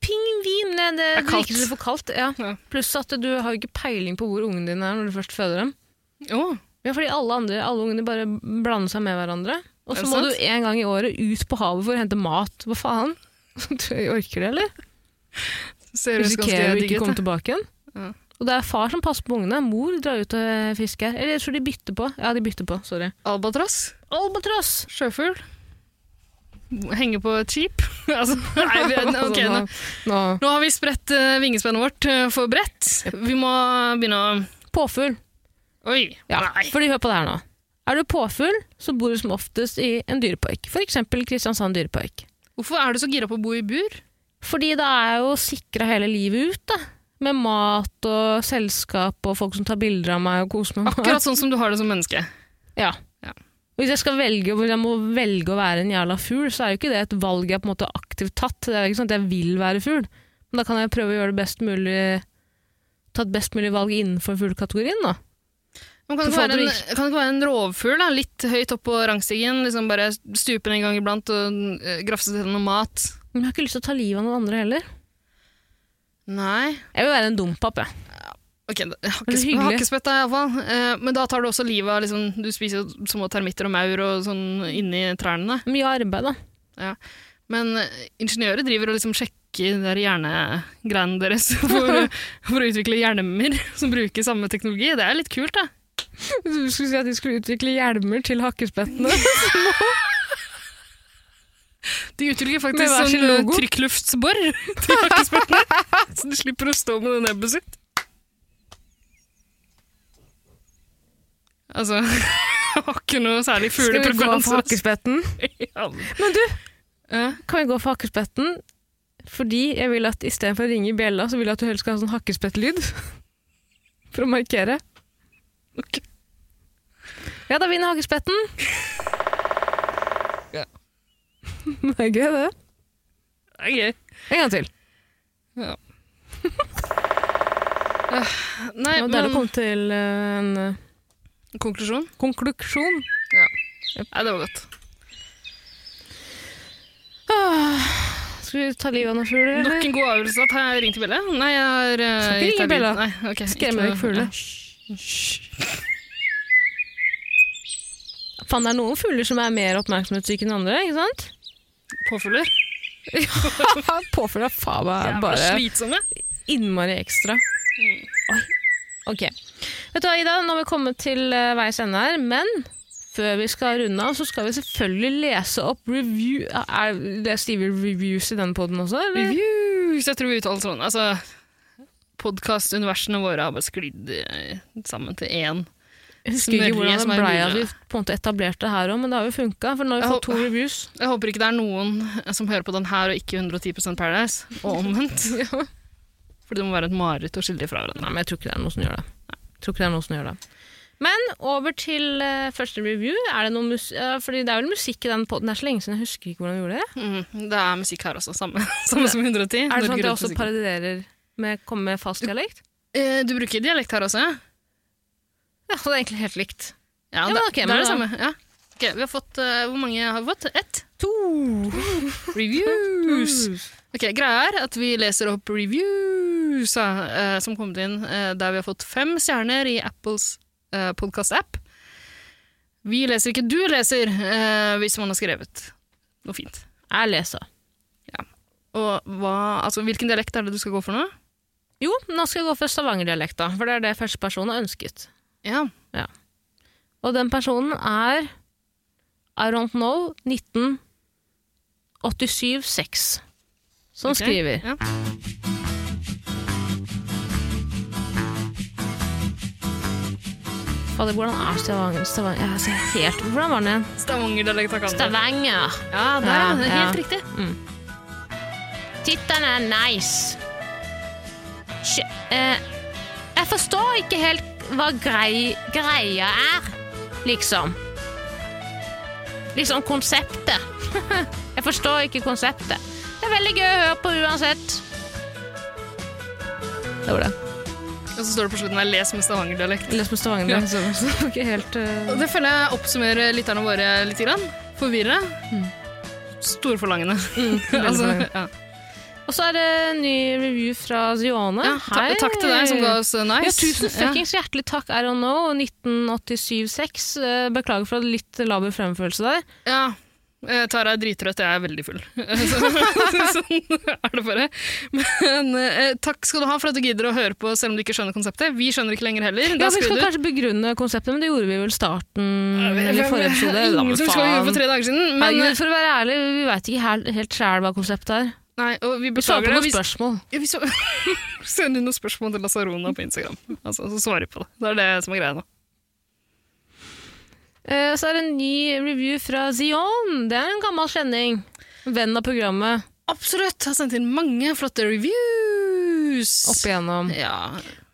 [SPEAKER 2] Pingvin! Nei, det
[SPEAKER 1] Er
[SPEAKER 2] det
[SPEAKER 1] kaldt.
[SPEAKER 2] virker som det er for kaldt. Ja.
[SPEAKER 1] Ja.
[SPEAKER 2] Pluss at du har jo ikke peiling på hvor ungen din er når du først føder dem.
[SPEAKER 1] Å,
[SPEAKER 2] Ja, fordi alle, andre, alle ungene bare blander seg med hverandre. Og
[SPEAKER 1] Er
[SPEAKER 2] så
[SPEAKER 1] det
[SPEAKER 2] må
[SPEAKER 1] sant?
[SPEAKER 2] du en gang i året ut på havet for å hente mat. Hva faen? Tror jeg Orker det, eller?
[SPEAKER 1] ser ut som
[SPEAKER 2] Risikerer
[SPEAKER 1] ganske
[SPEAKER 2] du ikke
[SPEAKER 1] digg
[SPEAKER 2] å komme
[SPEAKER 1] ut.
[SPEAKER 2] tilbake igjen?
[SPEAKER 1] Ja.
[SPEAKER 2] Og det er far som passer på ungene. Mor drar ut og fisker. Eller jeg tror de bytter på. Ja, de bytter på. Sorry.
[SPEAKER 1] da. Albatross.
[SPEAKER 2] Albatross!
[SPEAKER 1] Sjøfugl. Henge på et skip. altså, nei, vi, ok, nå,
[SPEAKER 2] Altså, nå.
[SPEAKER 1] nå har vi spredt eh, vingespennet vårt eh, for bredt. Vi må begynne å
[SPEAKER 2] Påfugl.
[SPEAKER 1] Oi.
[SPEAKER 2] Ja,
[SPEAKER 1] Nei.
[SPEAKER 2] fordi hør på det her nå. Er du påfugl, så bor du som oftest i en dyrepark. For eksempel Kristiansand dyrepark.
[SPEAKER 1] Hvorfor er du så gira på å bo i bur?
[SPEAKER 2] Fordi da er jeg jo sikra hele livet ut, da. Med mat og selskap og folk som tar bilder av meg og koser meg.
[SPEAKER 1] Akkurat sånn som du har det som menneske.
[SPEAKER 2] Ja.
[SPEAKER 1] Ja.
[SPEAKER 2] Og Hvis jeg skal velge, hvis jeg må velge å være en jævla fugl, så er jo ikke det et valg jeg på en måte aktivt tatt. Det er jo ikke sånn at jeg vil være fugl. Men da kan jeg prøve å gjøre det best mulig ta et best mulig valg innenfor fuglekategorien, da.
[SPEAKER 1] Men kan det ikke
[SPEAKER 2] Hvorfor
[SPEAKER 1] være en,
[SPEAKER 2] hadde
[SPEAKER 1] kan det ikke være en rovfugl, da? litt høyt opp på rangstigen, liksom bare stupe den en gang iblant og eh, grafse til noe mat?
[SPEAKER 2] Men jeg har ikke lyst til å ta livet av noen andre heller.
[SPEAKER 1] Nei.
[SPEAKER 2] Jeg vil være en dumpap, jeg.
[SPEAKER 1] Ok, da-
[SPEAKER 2] det
[SPEAKER 1] hakkes,
[SPEAKER 2] er hyggelig.
[SPEAKER 1] hakkespett da, iallfall. Eh, men da tar du også livet av liksom, Du spiser jo små termitter og maur og sånn inni trærne.
[SPEAKER 2] Mye arbeid, da.
[SPEAKER 1] Men eh, ingeniører driver og liksom sjekker de der hjernegreiene deres for, for å utvikle hjelmer som bruker samme teknologi. Det er litt kult, da.
[SPEAKER 2] Du skulle si at de skulle utvikle hjelmer til hakkespettene.
[SPEAKER 1] De utvikler
[SPEAKER 2] Med
[SPEAKER 1] faktisk
[SPEAKER 2] hver sin
[SPEAKER 1] sånn eh,
[SPEAKER 2] logo.
[SPEAKER 1] trykkluftsbor til hakkespettene, så de slipper å stå med det nebbet sitt. Altså, jeg har ikke noe særlig fuglepreferanser. altså.
[SPEAKER 2] hakkespetten? Men du,
[SPEAKER 1] Ja.
[SPEAKER 2] kan vi gå for hakkespetten? Fordi jeg vil at istedenfor å ringe i bjella, så vil jeg at du helst skal ha sånn hakkespettlyd. For å markere.
[SPEAKER 1] Ok.
[SPEAKER 2] Ja, da vinner hakkespetten.
[SPEAKER 1] Ja.
[SPEAKER 2] Det er gøy, det.
[SPEAKER 1] Det er gøy.
[SPEAKER 2] En gang til.
[SPEAKER 1] Nei,
[SPEAKER 2] Det var der
[SPEAKER 1] men
[SPEAKER 2] det kom til eh, en eh,
[SPEAKER 1] konklusjon?
[SPEAKER 2] konklusjon.
[SPEAKER 1] Nei, det var godt.
[SPEAKER 2] Åh, Ah. skal vi ta livet av noen fugler, eller?
[SPEAKER 1] Nok en god avgjørelse at jeg ringte Bella. Nei, jeg har eh,
[SPEAKER 2] Skal
[SPEAKER 1] gitt
[SPEAKER 2] ikke ringe
[SPEAKER 1] deg lyd.
[SPEAKER 2] Bella.
[SPEAKER 1] Nei, ok, ikke
[SPEAKER 2] Skremmer
[SPEAKER 1] noe-
[SPEAKER 2] vekk fugler. Faen, det er noen fugler som er mer oppmerksomhetssyke enn andre, ikke sant?
[SPEAKER 1] Ja. Påfugler.
[SPEAKER 2] Påfugler er faen meg
[SPEAKER 1] Jævla
[SPEAKER 2] bare Mm.
[SPEAKER 1] slitsomme.
[SPEAKER 2] innmari ekstra. Oi. Ok. Vet du hva, Ida, nå har vi kommet til eh, veis ende her, men før vi skal runde av, så skal vi selvfølgelig lese opp review... Er det Steve reviews i den poden også? Eller?
[SPEAKER 1] Reviews, jeg tror vi uttaler sånn. Altså, Podkast-universene våre har bare sklidd eh, sammen til én.
[SPEAKER 2] Jeg husker ikke
[SPEAKER 1] Smørje
[SPEAKER 2] hvordan
[SPEAKER 1] som er
[SPEAKER 2] det ble
[SPEAKER 1] i
[SPEAKER 2] at vi
[SPEAKER 1] buret.
[SPEAKER 2] på en måte etablerte det her òg, men det har jo funka, for nå har
[SPEAKER 1] Jeg
[SPEAKER 2] vi fått
[SPEAKER 1] håper-
[SPEAKER 2] to reviews.
[SPEAKER 1] Jeg håper ikke det er noen eh, som hører på den her og ikke 110 Paradise, og omvendt. For det må være et mareritt å skille de fra
[SPEAKER 2] Nei,
[SPEAKER 1] hverandre.
[SPEAKER 2] men jeg tror ikke det er noe som gjør det. Jeg tror ikke det er noe som gjør det. Men over til eh, første review. Er det noe mus eh, fordi det er vel musikk i den podden. Det er så lenge siden jeg husker ikke hvordan vi gjorde det.
[SPEAKER 1] Mm, det er musikk her også, samme, samme som 110.
[SPEAKER 2] Er det sånn at
[SPEAKER 1] Norge
[SPEAKER 2] jeg
[SPEAKER 1] Rundt
[SPEAKER 2] også
[SPEAKER 1] musikken.
[SPEAKER 2] parodierer med å komme med fast dialekt?
[SPEAKER 1] Eh, Du bruker dialekt her også, ja?
[SPEAKER 2] Ja, så det er egentlig helt likt.
[SPEAKER 1] Ja,
[SPEAKER 2] men
[SPEAKER 1] da, da
[SPEAKER 2] ok, men
[SPEAKER 1] er det
[SPEAKER 2] da-
[SPEAKER 1] samme. Ja. Ok, vi har fått, eh, hvor mange har vi fått? Ett?
[SPEAKER 2] To!
[SPEAKER 1] Reviews! Ok, Greia er at vi leser opp reviews eh, som kommet inn, eh, der vi har fått fem stjerner i Apples eh, podcast-app. Vi leser ikke, du leser, eh, hvis man har skrevet noe fint.
[SPEAKER 2] Jeg leser.
[SPEAKER 1] Og hva, altså, hvilken dialekt er det du skal gå for nå?
[SPEAKER 2] Jo, nå skal jeg gå for stavangerdialekta, for det er det første personen har ønsket.
[SPEAKER 1] Ja,
[SPEAKER 2] Og den personen er I don't know 1987-6, som
[SPEAKER 1] ok.
[SPEAKER 2] skriver
[SPEAKER 1] Ja.
[SPEAKER 2] Fader, hvordan er Stavanger? Stavanger jeg ser helt, Hvordan var den igjen?
[SPEAKER 1] Stavanger-dialekta kan du.
[SPEAKER 2] Stavanger.
[SPEAKER 1] Ja, der,
[SPEAKER 2] Ja,
[SPEAKER 1] ja, det er
[SPEAKER 2] ja.
[SPEAKER 1] helt riktig.
[SPEAKER 2] Tittelen er nice. Sj- eh, jeg forstår ikke helt hva grei, greia er, liksom. Liksom konseptet. jeg forstår ikke konseptet. Det er veldig gøy å høre på uansett. Det var det.
[SPEAKER 1] Og så står det på slutten her, les med Stavanger-dialekt.
[SPEAKER 2] Les på Stavanger. Ikke helt eh.
[SPEAKER 1] Og Det føler jeg oppsummerer lytterne våre litt. Grann. Forvirra. Mm. Storforlangende. altså, ja.
[SPEAKER 2] Og så er det en ny review fra Zione.
[SPEAKER 1] Ja, ta takk til deg som ga oss eh,
[SPEAKER 2] Ja,
[SPEAKER 1] nice.
[SPEAKER 2] tusen fuckings hjertelig takk, I don't know, 1987-6. Eh, Beklager for at litt laber fremførelse der.
[SPEAKER 1] Ja. Eh, Tara er drittrøtt, jeg er veldig full. Så- sånn er det bare. Men eh, takk skal du ha for at du gidder å høre på selv om du ikke skjønner konseptet. Vi skjønner ikke lenger heller.
[SPEAKER 2] Ja,
[SPEAKER 1] Da
[SPEAKER 2] vi
[SPEAKER 1] skal
[SPEAKER 2] skal
[SPEAKER 1] du-
[SPEAKER 2] kanskje begrunne konseptet, men det gjorde vi vel starten eller forrige episode. Ja, men
[SPEAKER 1] Ingen som skal gjøre for
[SPEAKER 2] faen.
[SPEAKER 1] tre dager siden.
[SPEAKER 2] Herregud,
[SPEAKER 1] Men, eh,
[SPEAKER 2] for å være ærlig, vi veit ikke helt, helt sjæl hva konseptet er.
[SPEAKER 1] nei, og vi
[SPEAKER 2] Vi
[SPEAKER 1] beklager
[SPEAKER 2] svarer på
[SPEAKER 1] det.
[SPEAKER 2] noen
[SPEAKER 1] Vi-
[SPEAKER 2] spørsmål.
[SPEAKER 1] Ja, vi så- Send inn noen spørsmål til Lasarona på Instagram, altså, så svarer vi på det. Det er det som er greia nå.
[SPEAKER 2] Eh, Så er det en ny review fra Zion. Det er en gammel kjenning. Venn av programmet.
[SPEAKER 1] Absolutt. Har sendt inn mange flotte reviews.
[SPEAKER 2] Opp igjennom.
[SPEAKER 1] Ja.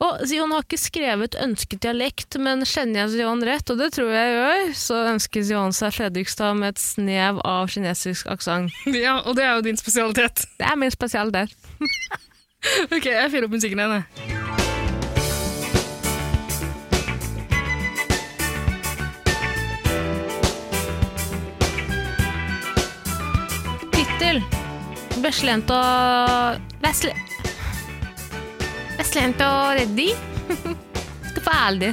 [SPEAKER 2] Og Zion har ikke skrevet ønsket dialekt, men kjenner jeg Zion rett, og det tror jeg gjør, så ønsker Zion seg Fredrikstad med et snev av kinesisk aksent.
[SPEAKER 1] ja, og det er jo din spesialitet.
[SPEAKER 2] Det er min spesialitet.
[SPEAKER 1] Ok, jeg fyrer opp musikken igjen, jeg.
[SPEAKER 2] Tittel Veslent og Vesle... Veslent og ready Skal få ærlig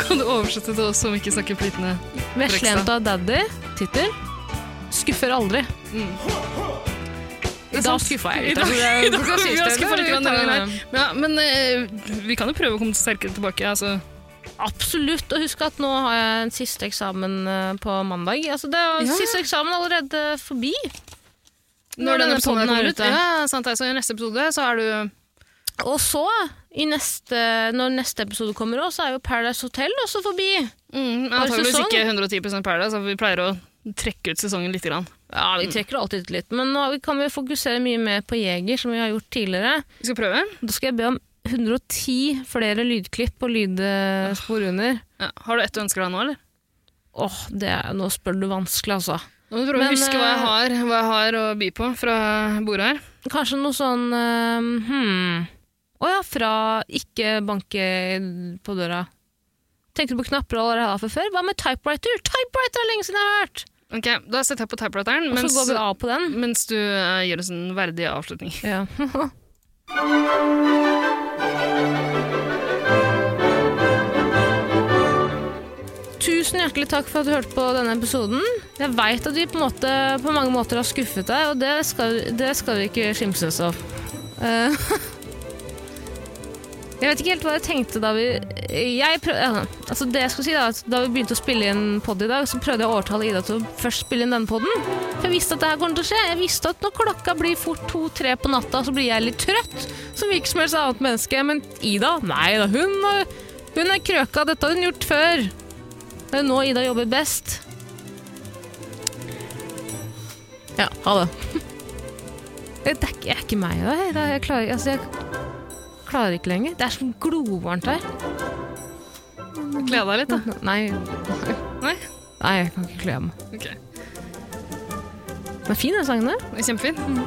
[SPEAKER 1] Kan du oversette til oss som ikke snakker flytende?
[SPEAKER 2] Veslent og daddy Tittel Skuffer aldri
[SPEAKER 1] Mm.
[SPEAKER 2] I dag skuffa jeg litt
[SPEAKER 1] sånn I dag-
[SPEAKER 2] altså, det er-
[SPEAKER 1] i dag-
[SPEAKER 2] du kan si
[SPEAKER 1] vi har
[SPEAKER 2] det,
[SPEAKER 1] skuffet litt
[SPEAKER 2] vi
[SPEAKER 1] grann
[SPEAKER 2] tar
[SPEAKER 1] denne gangen
[SPEAKER 2] det.
[SPEAKER 1] her. Men Ja, men eh, vi kan jo prøve å komme sterkere tilbake. Altså.
[SPEAKER 2] Absolutt, og husk at nå har jeg en siste eksamen eh, på mandag altså, det er
[SPEAKER 1] Ja.
[SPEAKER 2] Siste eksamen allerede forbi
[SPEAKER 1] Når denne episoden
[SPEAKER 2] podden
[SPEAKER 1] er kommet ut. Ja, sant, det. så I neste episode så er du
[SPEAKER 2] Og så, i neste, når neste episode kommer også, er jo Paradise Hotel også forbi
[SPEAKER 1] mm,
[SPEAKER 2] Har
[SPEAKER 1] antakeligvis
[SPEAKER 2] sesong?
[SPEAKER 1] ikke 110 Paradise, så vi pleier å trekke ut sesongen litt. Grann.
[SPEAKER 2] Ja, vi trekker alltid ut litt, men nå har vi- kan vi fokusere mye mer på Jeger, som vi har gjort tidligere.
[SPEAKER 1] Vi skal prøve.
[SPEAKER 2] Da skal jeg be om 110 flere lydklipp og lydspor under.
[SPEAKER 1] Ja. Har du ett du ønsker deg nå, eller?
[SPEAKER 2] Åh, det er, nå spør du vanskelig, altså.
[SPEAKER 1] Nå må du prøve
[SPEAKER 2] Men,
[SPEAKER 1] å huske hva jeg,
[SPEAKER 2] eh,
[SPEAKER 1] har, hva jeg har å by på fra bordet her.
[SPEAKER 2] Kanskje noe sånn ehm, hmm. Å ja, fra ikke banke på døra. Tenkte du på knapper og alt det her for før? Hva med typewriter? Typewriter er lenge siden jeg har hørt!
[SPEAKER 1] Ok, Da setter jeg på typewriteren
[SPEAKER 2] Og så
[SPEAKER 1] mens,
[SPEAKER 2] går vi av på den.
[SPEAKER 1] mens du eh, gjør en sånn verdig avslutning.
[SPEAKER 2] Ja. Tusen hjertelig takk for at du hørte på denne episoden. Jeg veit at vi på, en måte, på mange måter har skuffet deg, og det skal, det skal vi ikke skimses av. Eh, jeg vet ikke helt hva jeg tenkte da vi jeg prøv, eh, altså det jeg skulle si da, at da vi begynte å spille inn pod i dag, så prøvde jeg å overtale Ida til å først spille inn denne poden. For jeg visste at det her kom til å skje. Jeg visste at når klokka blir fort to-tre på natta, så blir jeg litt trøtt. Som hvilket som helst annet menneske. Men Ida, nei da, hun, har- hun er krøka. Dette har hun gjort før. Det er nå Ida jobber best. Ja, ha det. Det er ikke, jeg er ikke meg, da. Jeg, jeg, klarer, altså, jeg klarer ikke lenger. Det er så glovarmt her.
[SPEAKER 1] Kle deg litt, da.
[SPEAKER 2] Nei,
[SPEAKER 1] Nei?
[SPEAKER 2] nei jeg kan ikke kle av meg.
[SPEAKER 1] Ok.
[SPEAKER 2] Den er fin, den sangen der.
[SPEAKER 1] Den er Kjempefin.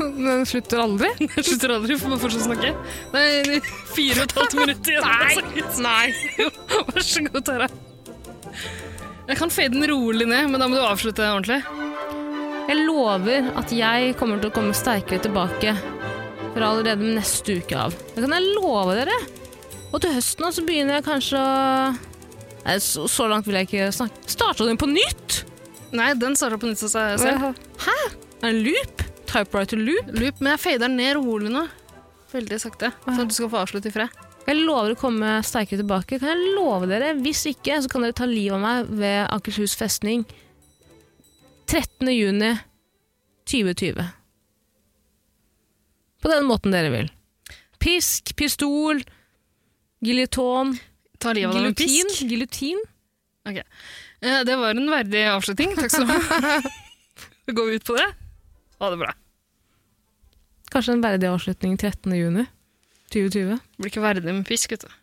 [SPEAKER 1] Den slutter aldri. Den slutter aldri, for man fortsatt snakke. Nei, det er fire og et halvt minutt igjen. Nei, nei. Vær så god, Tara. Jeg kan fade den rolig ned, men da må du avslutte ordentlig.
[SPEAKER 2] Jeg lover at jeg kommer til å komme sterkere tilbake fra allerede neste uke av. Det kan jeg love dere. Og til høsten også begynner jeg kanskje å Nei, så, så langt vil jeg ikke snakke. Starta den på nytt?!
[SPEAKER 1] Nei, den starter på nytt av seg selv.
[SPEAKER 2] Hæ? Er det en loop? Typewriter loop?
[SPEAKER 1] Loop, men jeg fader den ned rolig nå. Veldig sakte, sånn at du skal få avslutte i fred.
[SPEAKER 2] Jeg lover å komme sterkere tilbake. Kan jeg love dere? Hvis ikke, så kan dere ta livet av meg ved Akershus festning 13. juni 2020. På den måten dere vil. Pisk, pistol, giljotin
[SPEAKER 1] Ta livet av deg med
[SPEAKER 2] Giljotin?
[SPEAKER 1] pisk.
[SPEAKER 2] Giljotin?
[SPEAKER 1] Eh, Det var en verdig avslutning. Takk skal du ha. Da går vi ut på det. Ha det bra.
[SPEAKER 2] Kanskje en verdig avslutning 13. juni 2020.
[SPEAKER 1] Det blir ikke verdig med pisk, vet du.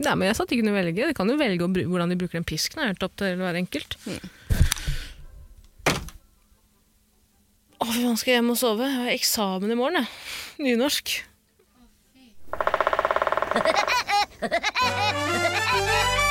[SPEAKER 2] Nei, men jeg sa at de kunne velge. De kan jo velge å bru- hvordan de bruker den pisken. er helt opp til hver enkelt. Å, fy faen, skal jeg hjem og sove? Jeg har eksamen i morgen, jeg. Nynorsk.
[SPEAKER 6] Ha ha ha!